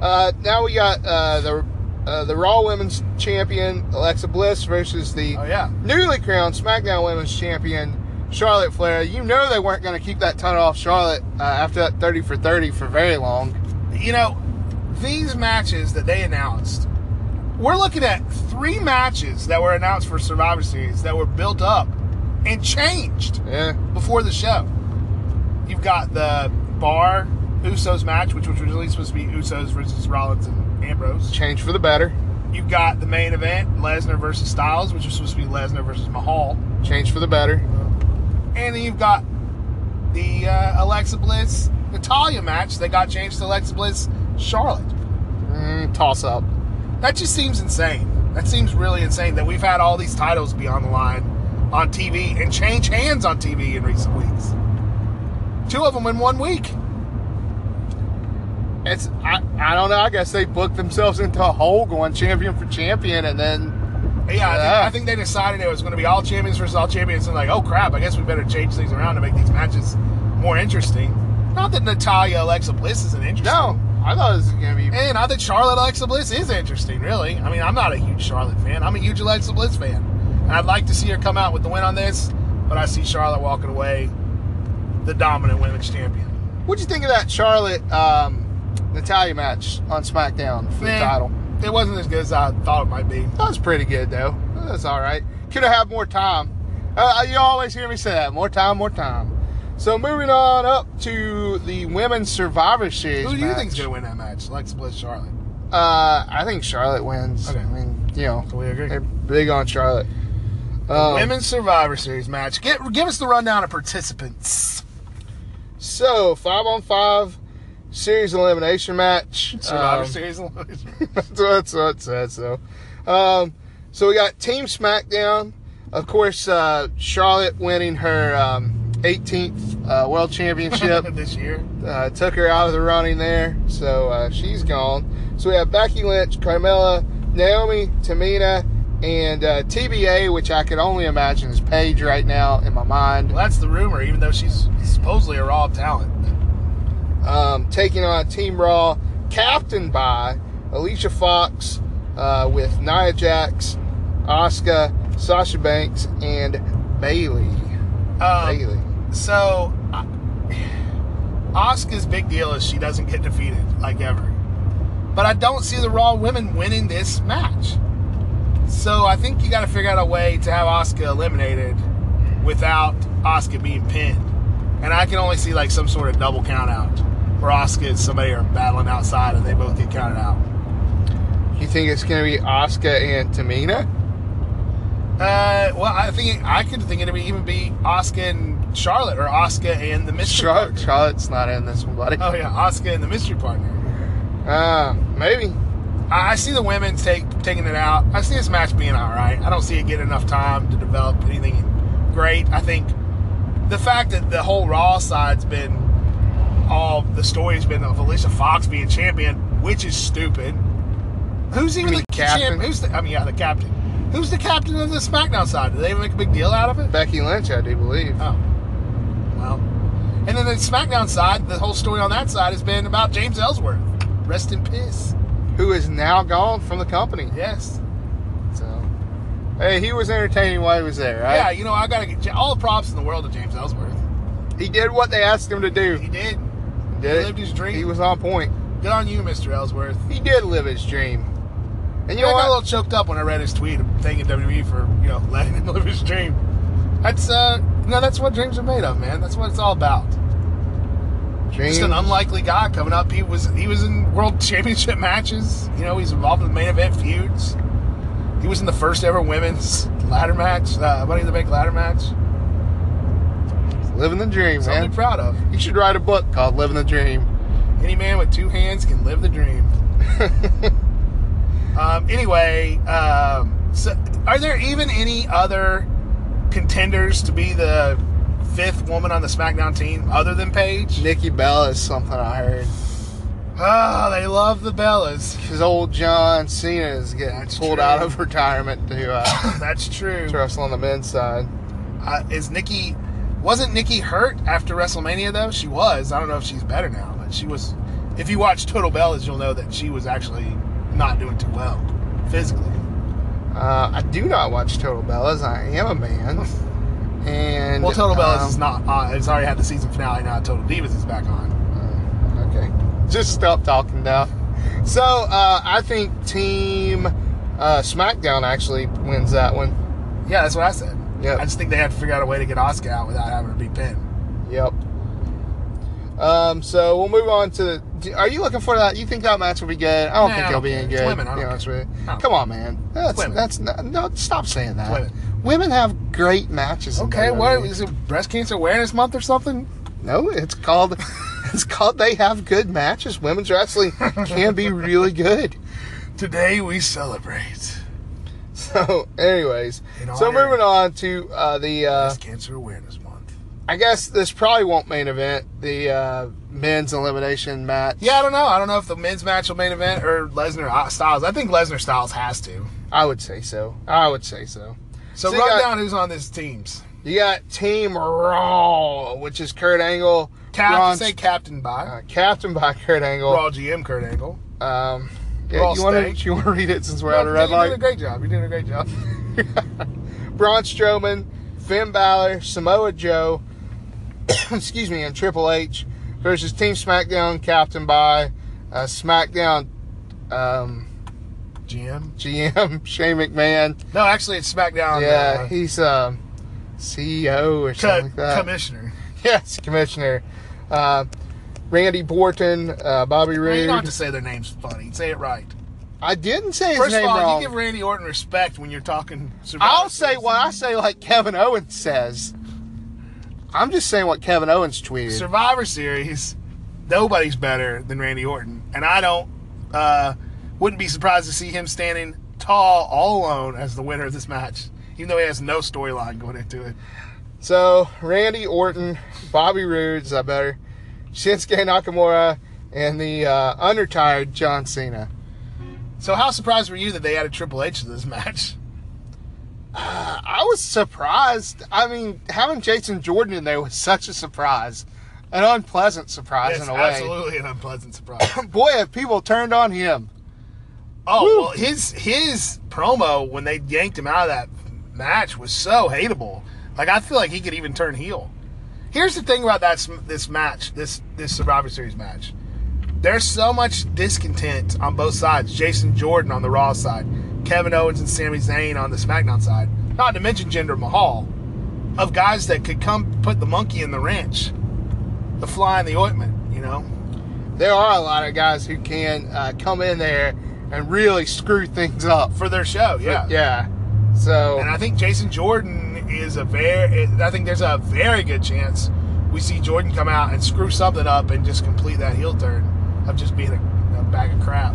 Speaker 1: uh, now we got uh, the uh, the Raw Women's Champion Alexa Bliss versus the
Speaker 2: Oh yeah.
Speaker 1: newly crowned SmackDown Women's Champion Charlotte Flair. You know they weren't going to keep that title off Charlotte uh, after that 30 for 30 for very long.
Speaker 2: you know, these matches that they announced, we're looking at three matches that were announced for Survivor Series that were built up and changed
Speaker 1: Yeah,
Speaker 2: before the show. You've got the Bar Usos match, which was originally supposed to be Usos versus Rollins and Ambrose.
Speaker 1: change for the better,
Speaker 2: You've got the main event, Lesnar versus Styles, which was supposed to be Lesnar versus Mahal.
Speaker 1: change for the better.
Speaker 2: And then you've got the uh, Alexa Bliss Natalia match that got changed to Alexa Bliss Charlotte.
Speaker 1: Mm, toss up.
Speaker 2: That just seems insane. That seems really insane that we've had all these titles be on the line on TV and change hands on TV in recent weeks. Two of them in one week.
Speaker 1: It's I, I don't know. I guess they booked themselves into a hole going champion for champion, and then
Speaker 2: Yeah, I,
Speaker 1: Yeah.
Speaker 2: think, I think they decided it was going to be all champions versus all champions, and like, oh crap, I guess we better change things around to make these matches more interesting. Not that Natalia Alexa Bliss isn't interesting.
Speaker 1: no, I thought it was gonna be
Speaker 2: And I think Charlotte Alexa Bliss is interesting, really. I mean, I'm not a huge Charlotte fan. I'm a huge Alexa Bliss fan. And I'd like to see her come out with the win on this, but I see Charlotte walking away the dominant women's champion.
Speaker 1: What'd you think of that Charlotte um, Natalia match on SmackDown for
Speaker 2: Meh.
Speaker 1: the title?
Speaker 2: It wasn't as good as I thought it might be.
Speaker 1: That was pretty good though. That was all right. Could have had more time. Uh, you always hear me say that. More time, more time. So moving on up to the women's Survivor Series.
Speaker 2: Who do you
Speaker 1: match.
Speaker 2: think's going to win that match? Alexa Bliss, Charlotte.
Speaker 1: Uh, I think Charlotte wins.
Speaker 2: Okay.
Speaker 1: I mean, you know,
Speaker 2: So we agree.
Speaker 1: they're big on Charlotte. Um,
Speaker 2: Women's Survivor Series match. Get, give us the rundown of participants.
Speaker 1: So five on five series elimination match.
Speaker 2: Survivor
Speaker 1: Um,
Speaker 2: Series. [LAUGHS]
Speaker 1: that's, what- that's what it says, though. Um, so we got Team SmackDown. Of course, uh, Charlotte winning her um, 18th uh, World
Speaker 2: [LAUGHS]
Speaker 1: Championship
Speaker 2: this year.
Speaker 1: uh, took her out of the running there, so uh, she's gone. So we have Becky Lynch, Carmella, Naomi, Tamina, and uh, TBA, which I could only imagine is Paige right now in my mind,
Speaker 2: Well, that's the rumor, even though she's supposedly a raw talent.
Speaker 1: um, taking on Team Raw, captained by Alicia Fox uh, with Nia Jax, Asuka, Sasha Banks, and Bailey.
Speaker 2: Um,
Speaker 1: Bailey.
Speaker 2: So, uh, Asuka's big deal is she doesn't get defeated, like ever. But I don't see the Raw women winning this match. So I think you got to figure out a way to have Asuka eliminated without Asuka being pinned. And I can only see like some sort of double count out where Asuka and somebody are battling outside and they both get counted out.
Speaker 1: You think it's going to be Asuka and Tamina?
Speaker 2: Uh, well, I think I could think it'd be even be Asuka and Charlotte or Asuka and the mystery.
Speaker 1: Charlotte, Charlotte's not in this one, buddy.
Speaker 2: Oh yeah, Asuka and the mystery partner.
Speaker 1: Uh, maybe.
Speaker 2: I I see the women take taking it out. I see this match being all right. I don't see it getting enough time to develop anything great. I think the fact that the whole Raw side's been all the story's been of Alicia Fox being champion, which is stupid. Who's even
Speaker 1: mean
Speaker 2: the
Speaker 1: captain?
Speaker 2: captain? Who's the? I mean, yeah, the captain. Who's the captain of the SmackDown side? Do they even make a big deal out of it?
Speaker 1: Becky Lynch, I do believe.
Speaker 2: Oh, well. And then the SmackDown side, the whole story on that side has been about James Ellsworth. Rest in peace.
Speaker 1: Who is now gone from the company.
Speaker 2: Yes.
Speaker 1: So, hey, he was entertaining while he was there,
Speaker 2: Yeah,
Speaker 1: right?
Speaker 2: you know, I gotta get all the props in the world to James Ellsworth.
Speaker 1: He did what they asked him to do.
Speaker 2: He did.
Speaker 1: Did
Speaker 2: lived his dream.
Speaker 1: He was on point.
Speaker 2: Good on you, Mr. Ellsworth.
Speaker 1: He did live his dream. And you
Speaker 2: You know,
Speaker 1: know
Speaker 2: I got a
Speaker 1: what?
Speaker 2: little choked up when I read his tweet thanking WWE E for, you know, [LAUGHS] letting him live his dream. That's, uh, no, that's what dreams are made of, man. That's what it's all about.
Speaker 1: Dream.
Speaker 2: Just an unlikely guy coming up. He was, he was in world [LAUGHS] championship matches. You know, he's involved in the main event feuds. He was in the first ever women's [LAUGHS] ladder match, uh, Money in the Bank ladder match.
Speaker 1: living the dream,
Speaker 2: Something to
Speaker 1: man.
Speaker 2: be proud of. [LAUGHS]
Speaker 1: You should write a book called Living the Dream.
Speaker 2: Any man with two hands can live the dream. um, anyway, um, so are there even any other contenders to be the fifth woman on the SmackDown team other than Paige?
Speaker 1: Nikki Bella is something I heard.
Speaker 2: Oh, they love the Bellas. [LAUGHS]
Speaker 1: Because old John Cena is getting
Speaker 2: That's
Speaker 1: pulled
Speaker 2: true.
Speaker 1: out of [LAUGHS] retirement to,
Speaker 2: [LAUGHS]
Speaker 1: uh,
Speaker 2: That's true.
Speaker 1: to wrestle on the men's side.
Speaker 2: Uh, is Nikki? Wasn't Nikki hurt after WrestleMania though? She was. I don't know if she's better now, but she was. If you watch Total Bellas, you'll know that she was actually not doing too well physically.
Speaker 1: Uh, I do not watch Total Bellas. I am a man.
Speaker 2: [LAUGHS]
Speaker 1: And
Speaker 2: Well, Total Bellas
Speaker 1: um,
Speaker 2: is not. Uh, it's already had the season finale now. Total Divas is back on.
Speaker 1: uh, okay. Just stop talking now. So uh, I think Team uh, SmackDown actually wins that one.
Speaker 2: Yeah, that's what I said.
Speaker 1: Yep.
Speaker 2: I just think they had to figure out a way to get Oscar out without having to be pinned.
Speaker 1: Yep. Um, so we'll move on to. do- Are you looking for that? You think that match will be good? I don't
Speaker 2: Nah,
Speaker 1: think
Speaker 2: I
Speaker 1: it'll
Speaker 2: don't
Speaker 1: be
Speaker 2: care.
Speaker 1: any
Speaker 2: It's
Speaker 1: good.
Speaker 2: women, I
Speaker 1: to be
Speaker 2: don't
Speaker 1: honest
Speaker 2: care.
Speaker 1: with you.
Speaker 2: I don't
Speaker 1: Come on, man. That's
Speaker 2: women.
Speaker 1: that's not, no. Stop saying that.
Speaker 2: women.
Speaker 1: Women have great matches. in
Speaker 2: Okay,
Speaker 1: WWE.
Speaker 2: what is it? Breast Cancer Awareness Month or something?
Speaker 1: No,
Speaker 2: [LAUGHS]
Speaker 1: it's called. It's called. They have good matches. Women's wrestling can be really good.
Speaker 2: Today we celebrate
Speaker 1: So, anyways,
Speaker 2: In
Speaker 1: so
Speaker 2: honor-
Speaker 1: moving on to uh, the. Uh,
Speaker 2: Breast Cancer Awareness Month.
Speaker 1: I guess this probably won't main event the uh, men's elimination match.
Speaker 2: Yeah, I don't know. I don't know if the men's match will main event or Lesnar uh, Styles. I think Lesnar Styles has to.
Speaker 1: I would say so. I would say so.
Speaker 2: So,
Speaker 1: So you
Speaker 2: run
Speaker 1: got-
Speaker 2: down who's on these teams.
Speaker 1: You got Team Raw, which is Kurt Angle,
Speaker 2: Cap,
Speaker 1: Braun-
Speaker 2: say captain by
Speaker 1: uh, captain by Kurt Angle.
Speaker 2: Raw GM Kurt Angle.
Speaker 1: Um, yeah,
Speaker 2: Raw
Speaker 1: you want to
Speaker 2: steak.
Speaker 1: you want to read it since we're out of red
Speaker 2: you're doing a
Speaker 1: light. [LAUGHS]
Speaker 2: great job. You're doing a great job. [LAUGHS]
Speaker 1: Braun Strowman, Finn Balor, Samoa Joe, [COUGHS] excuse me, and Triple H versus Team SmackDown, captain by uh, SmackDown um,
Speaker 2: GM?
Speaker 1: GM [LAUGHS] Shane McMahon.
Speaker 2: No, actually, it's SmackDown.
Speaker 1: yeah,
Speaker 2: uh,
Speaker 1: he's um, CEO or
Speaker 2: co-
Speaker 1: something like that.
Speaker 2: commissioner.
Speaker 1: [LAUGHS] Yes, Commissioner. Uh, Randy Borton, uh, Bobby
Speaker 2: I mean, you
Speaker 1: Roode.
Speaker 2: don't have to say their names funny. Say it right.
Speaker 1: I didn't say his
Speaker 2: First
Speaker 1: name
Speaker 2: of all,
Speaker 1: wrong.
Speaker 2: you give Randy Orton respect when you're talking. Survivor
Speaker 1: I'll say
Speaker 2: Series.
Speaker 1: what I say, like Kevin Owens says. I'm just saying what Kevin Owens tweeted.
Speaker 2: Survivor Series, nobody's better than Randy Orton, and I don't uh, wouldn't be surprised to see him standing tall all alone as the winner of this match, even though he has no storyline going into it.
Speaker 1: so Randy Orton, Bobby Roode, is that better? Shinsuke Nakamura, and the uh, unretired John Cena.
Speaker 2: So how surprised were you that they added Triple H to this match?
Speaker 1: I was surprised. I mean, having Jason Jordan in there was such a surprise, an unpleasant surprise
Speaker 2: It's
Speaker 1: in a way.
Speaker 2: absolutely an unpleasant surprise.
Speaker 1: Boy, have people turned on him.
Speaker 2: Oh
Speaker 1: Woo.
Speaker 2: well, his his promo when they yanked him out of that match was so hateable. Like I feel like he could even turn heel. Here's the thing about that s- this match, this this Survivor Series match. There's so much discontent on both sides. Jason Jordan on the Raw side, Kevin Owens and Sami Zayn on the SmackDown side. Not to mention Jinder Mahal, of guys that could come put the monkey in the wrench, the fly in the ointment. You know,
Speaker 1: There are a lot of guys who can uh, come in there and really screw things up.
Speaker 2: for their show. Yeah,
Speaker 1: Yeah. So
Speaker 2: And I think Jason Jordan is a very. I think there's a very good chance we see Jordan come out and screw something up and just complete that heel turn of just being a, a bag of crap.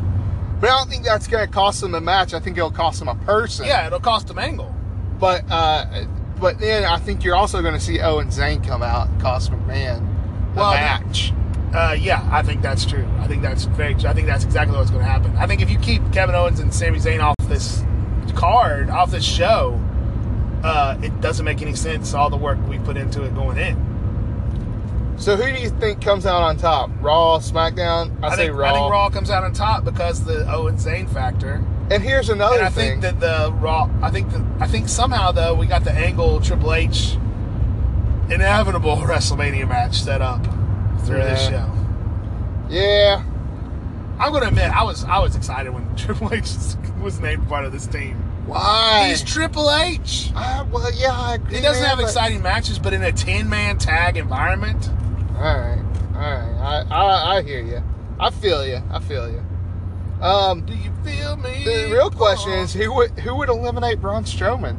Speaker 1: But I don't think that's going to cost him a match. I think it'll cost him a person.
Speaker 2: Yeah, it'll cost him angle.
Speaker 1: But uh, but then I think you're also going to see Owen Zane come out and cost McMahon a
Speaker 2: Well,
Speaker 1: match.
Speaker 2: Uh, yeah, I think that's true. I think that's very. I think that's exactly what's going to happen. I think if you keep Kevin Owens and Sami Zayn off this card, off this show, uh, it doesn't make any sense. All the work we put into it going in.
Speaker 1: So who do you think comes out on top? Raw, SmackDown? I, say
Speaker 2: think,
Speaker 1: Raw.
Speaker 2: I think Raw comes out on top because the Owens Zayn factor.
Speaker 1: And here's another
Speaker 2: and I
Speaker 1: thing.
Speaker 2: think that the raw. I think the, I think somehow though we got the angle Triple H inevitable [LAUGHS] WrestleMania match set up through this
Speaker 1: Yeah.
Speaker 2: show.
Speaker 1: yeah.
Speaker 2: I'm gonna admit I was I was excited when [LAUGHS] Triple H was named part of this team.
Speaker 1: Why?
Speaker 2: He's Triple H.
Speaker 1: I, well, yeah, I agree.
Speaker 2: He doesn't
Speaker 1: man,
Speaker 2: have
Speaker 1: but-
Speaker 2: exciting matches, but in a ten man tag environment,
Speaker 1: All right. All right. I, I, I hear you. I feel you. I feel you. Um,
Speaker 2: do you feel me?
Speaker 1: the real question
Speaker 2: Oh.
Speaker 1: is who would, who would eliminate Braun Strowman?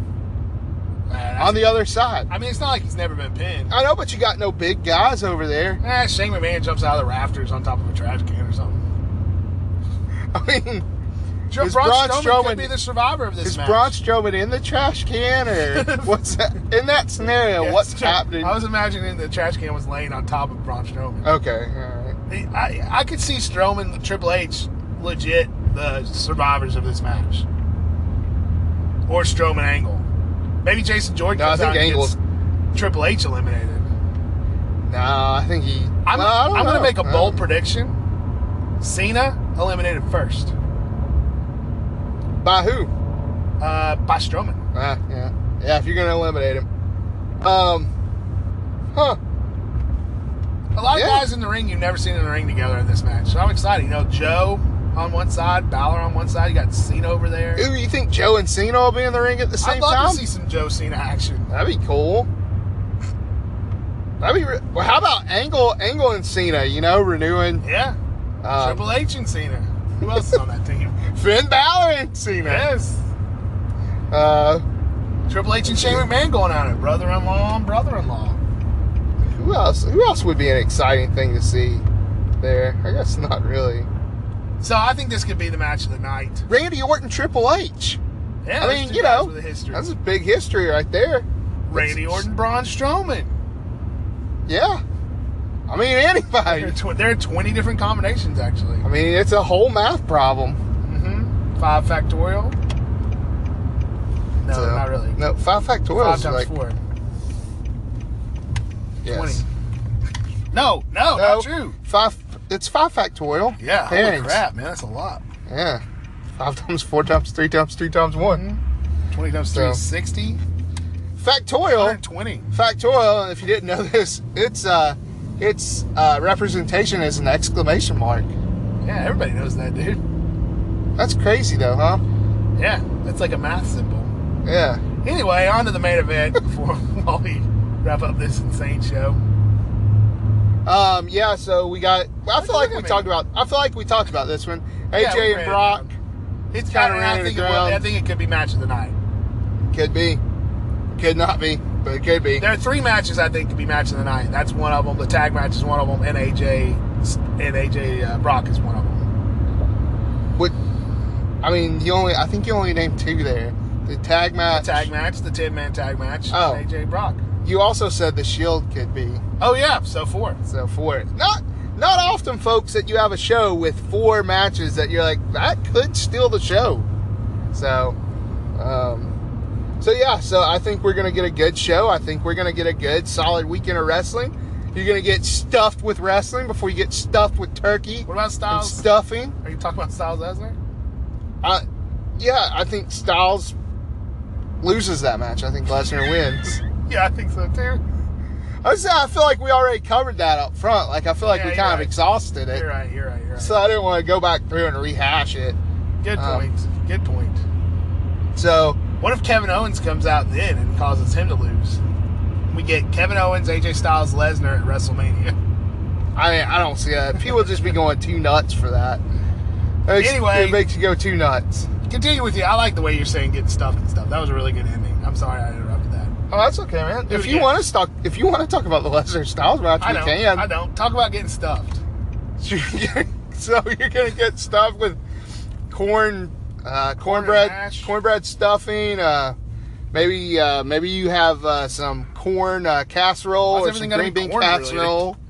Speaker 1: on the other side.
Speaker 2: I mean, it's not like he's never been pinned.
Speaker 1: I know, but you got no big guys over there. [LAUGHS]
Speaker 2: Eh, Shane McMahon jumps out of the rafters on top of a trash can or something.
Speaker 1: I mean,
Speaker 2: Joe
Speaker 1: Is
Speaker 2: Braun,
Speaker 1: Braun
Speaker 2: Strowman,
Speaker 1: Strowman-
Speaker 2: could be the survivor of this
Speaker 1: is
Speaker 2: match.
Speaker 1: Braun Strowman in the trash can, or
Speaker 2: [LAUGHS]
Speaker 1: what's that? In that scenario,
Speaker 2: Yes,
Speaker 1: what's
Speaker 2: Joe-
Speaker 1: happening? Uh,
Speaker 2: I was imagining the trash can was laying on top of Braun Strowman.
Speaker 1: okay, all right.
Speaker 2: I, I could see Strowman, the Triple H, legit the survivors of this match, or Strowman Angle. Maybe Jason Jordan.
Speaker 1: No, I
Speaker 2: comes
Speaker 1: think
Speaker 2: out and
Speaker 1: Angle's-
Speaker 2: gets Triple H eliminated.
Speaker 1: Nah, I think he.
Speaker 2: I'm,
Speaker 1: well, I don't
Speaker 2: I'm gonna
Speaker 1: know. Uh,
Speaker 2: make a
Speaker 1: I
Speaker 2: bold
Speaker 1: don't-
Speaker 2: prediction. Cena eliminated first
Speaker 1: By who?
Speaker 2: uh, by Strowman.
Speaker 1: Ah, yeah, yeah. If you're gonna eliminate him, um, huh?
Speaker 2: A lot
Speaker 1: Yeah.
Speaker 2: of guys in the ring you've never seen in the ring together in this match, so I'm excited. You know, Joe on one side, Balor on one side. You got Cena over there.
Speaker 1: Ooh, you think Joe and Cena will be in the ring at the
Speaker 2: I'd
Speaker 1: same
Speaker 2: love
Speaker 1: time?
Speaker 2: to see some Joe Cena action.
Speaker 1: That'd be cool. That'd be. Re- well, how about Angle, Angle and Cena? You know, renewing.
Speaker 2: Yeah,
Speaker 1: Um,
Speaker 2: Triple H and Cena. Who else is on that
Speaker 1: [LAUGHS]
Speaker 2: team?
Speaker 1: Finn Balor and Cena.
Speaker 2: Yes.
Speaker 1: Uh,
Speaker 2: Triple H and Shane McMahon going at it. Brother in law and brother in law.
Speaker 1: who else? Who else would be an exciting thing to see there? I guess not really.
Speaker 2: So I think this could be the match of the night.
Speaker 1: Randy Orton, Triple H.
Speaker 2: Yeah,
Speaker 1: I
Speaker 2: those
Speaker 1: mean,
Speaker 2: two
Speaker 1: you
Speaker 2: guys
Speaker 1: know,
Speaker 2: With a history.
Speaker 1: that's a big history right there.
Speaker 2: Randy
Speaker 1: that's-
Speaker 2: Orton, Braun Strowman.
Speaker 1: Yeah. I mean,
Speaker 2: There are, [LAUGHS]
Speaker 1: anybody.
Speaker 2: tw- there are 20 different combinations, actually.
Speaker 1: I mean, it's a whole math problem.
Speaker 2: hmm Five factorial. No,
Speaker 1: So-
Speaker 2: not really.
Speaker 1: No, five factorial
Speaker 2: Five
Speaker 1: is
Speaker 2: times
Speaker 1: like
Speaker 2: four.
Speaker 1: yes.
Speaker 2: 20. No, no,
Speaker 1: No,
Speaker 2: not true.
Speaker 1: Five. It's five factorial.
Speaker 2: Yeah, holy
Speaker 1: Thanks.
Speaker 2: crap, man. That's a lot.
Speaker 1: Yeah. Five times four times three times three times one.
Speaker 2: Mm-hmm. 20 times
Speaker 1: So-
Speaker 2: 3 is 60.
Speaker 1: Factorial.
Speaker 2: 120.
Speaker 1: Factorial. If you didn't know this, it's uh, its uh, representation is an exclamation mark.
Speaker 2: Yeah, everybody knows that, dude.
Speaker 1: That's crazy though, huh?
Speaker 2: Yeah, that's like a math symbol.
Speaker 1: Yeah.
Speaker 2: Anyway, on to the main event before [LAUGHS] while we wrap up this insane show.
Speaker 1: Um, yeah, so we got. I feel
Speaker 2: look
Speaker 1: like we
Speaker 2: at me.
Speaker 1: talked about. I feel like we talked about this one.
Speaker 2: Yeah, we
Speaker 1: AJ
Speaker 2: ran
Speaker 1: and
Speaker 2: it
Speaker 1: Brock
Speaker 2: It's
Speaker 1: Kinda
Speaker 2: kind of
Speaker 1: ran
Speaker 2: I
Speaker 1: it
Speaker 2: think it
Speaker 1: down.
Speaker 2: will, I think it could be match of the night.
Speaker 1: could be, could not be, but it could be.
Speaker 2: There are three matches I think could be match of the night. That's one of them. The tag match is one of them, and AJ and AJ uh, Brock is one of them.
Speaker 1: What? I mean, you only. I think you only named two there. The tag match.
Speaker 2: Tag match, the ten man tag match,
Speaker 1: Oh.
Speaker 2: and AJ Brock.
Speaker 1: You also said the Shield could be.
Speaker 2: Oh yeah, so four.
Speaker 1: So four. Not not often, folks, that you have a show with four matches that you're like that could steal the show. So, um, so yeah. So I think we're gonna get a good show. I think we're gonna get a good solid weekend of wrestling. You're gonna get stuffed with wrestling before you get stuffed with turkey
Speaker 2: What about
Speaker 1: and
Speaker 2: Styles?
Speaker 1: stuffing.
Speaker 2: Are you talking about Styles Lesnar?
Speaker 1: I, yeah, I think Styles loses that match. I think Lesnar wins.
Speaker 2: Yeah, I think so too.
Speaker 1: I was saying, I feel like we already covered that up front. Like I feel like
Speaker 2: Yeah,
Speaker 1: we
Speaker 2: you're
Speaker 1: kind of
Speaker 2: right.
Speaker 1: exhausted it.
Speaker 2: You're right. You're right. You're right.
Speaker 1: So I didn't want to go back through and rehash it.
Speaker 2: Good
Speaker 1: um,
Speaker 2: point. Good point.
Speaker 1: So
Speaker 2: What if Kevin Owens comes out then and causes him to lose? We get Kevin Owens, AJ Styles, Lesnar at WrestleMania. [LAUGHS]
Speaker 1: I mean, I don't see that. People just be going too nuts for that. It makes-
Speaker 2: Anyway.
Speaker 1: it makes you go too nuts.
Speaker 2: Continue with you. I like the way you're saying getting stuffed and stuff. That was a really good ending. I'm sorry I interrupted that.
Speaker 1: Oh, that's okay, man.
Speaker 2: Do it
Speaker 1: if you
Speaker 2: again.
Speaker 1: want to talk, if you want to talk about the Lesnar Styles match,
Speaker 2: I
Speaker 1: we
Speaker 2: don't.
Speaker 1: can.
Speaker 2: I don't. Talk about getting stuffed.
Speaker 1: You're gonna- so you're gonna get stuffed with corn, uh, cornbread,
Speaker 2: mash.
Speaker 1: cornbread stuffing. Uh, maybe uh, maybe you have uh, some corn uh,
Speaker 2: Why's
Speaker 1: casserole or some
Speaker 2: everything gotta
Speaker 1: green
Speaker 2: be
Speaker 1: bean
Speaker 2: corn related?
Speaker 1: casserole.
Speaker 2: don't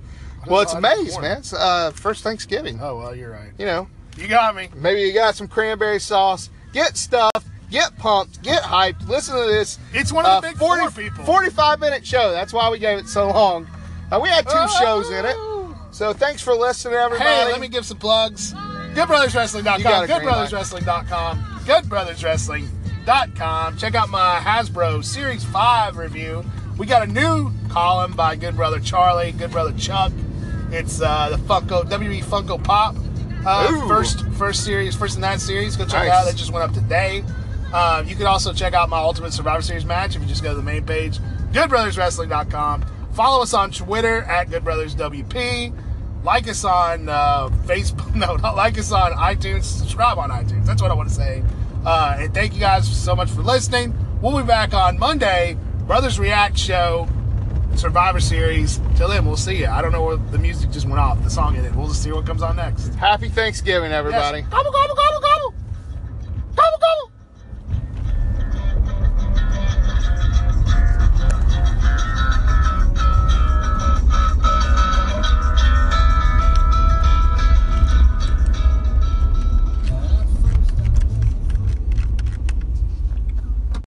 Speaker 1: Well,
Speaker 2: know
Speaker 1: it's
Speaker 2: why I think
Speaker 1: maize,
Speaker 2: corn.
Speaker 1: man. It's uh, first Thanksgiving.
Speaker 2: Oh well, you're right.
Speaker 1: You know,
Speaker 2: You got me.
Speaker 1: maybe you got some cranberry sauce. Get stuffed. Get pumped. Get hyped. Listen to this.
Speaker 2: It's one of the
Speaker 1: uh,
Speaker 2: big four people.
Speaker 1: 45 minute show. That's why we gave it so long. Uh, we had two shows in it. So thanks for listening, everybody.
Speaker 2: Oh. Hey, let me give some plugs.
Speaker 1: You got
Speaker 2: GoodBrothersWrestling.com.
Speaker 1: a green light.
Speaker 2: GoodBrothersWrestling.com. GoodBrothersWrestling.com. Check out my Hasbro Series 5 review. We got a new column by Good Brother Charlie, Good Brother Chuck. It's uh, the Funko, WE Funko Pop. Uh,
Speaker 1: Ooh.
Speaker 2: first first series, first in that series. Go check it
Speaker 1: Nice.
Speaker 2: out. That just went up today. Uh, you can also check out my Ultimate Survivor Series match if you just go to the main page, goodbrotherswrestling.com. Follow us on Twitter at goodbrotherswp. Like us on uh, Facebook. [LAUGHS] No, not like us on iTunes. Subscribe on iTunes. That's what I want to say. Uh, and thank you guys so much for listening. We'll be back on Monday Brothers React show, Survivor Series. Till then, we'll see you. I don't know where the music just went off, the song ended. We'll just see what comes on next.
Speaker 1: Happy Thanksgiving, everybody.
Speaker 2: Yes. Gobble, gobble, gobble, gobble.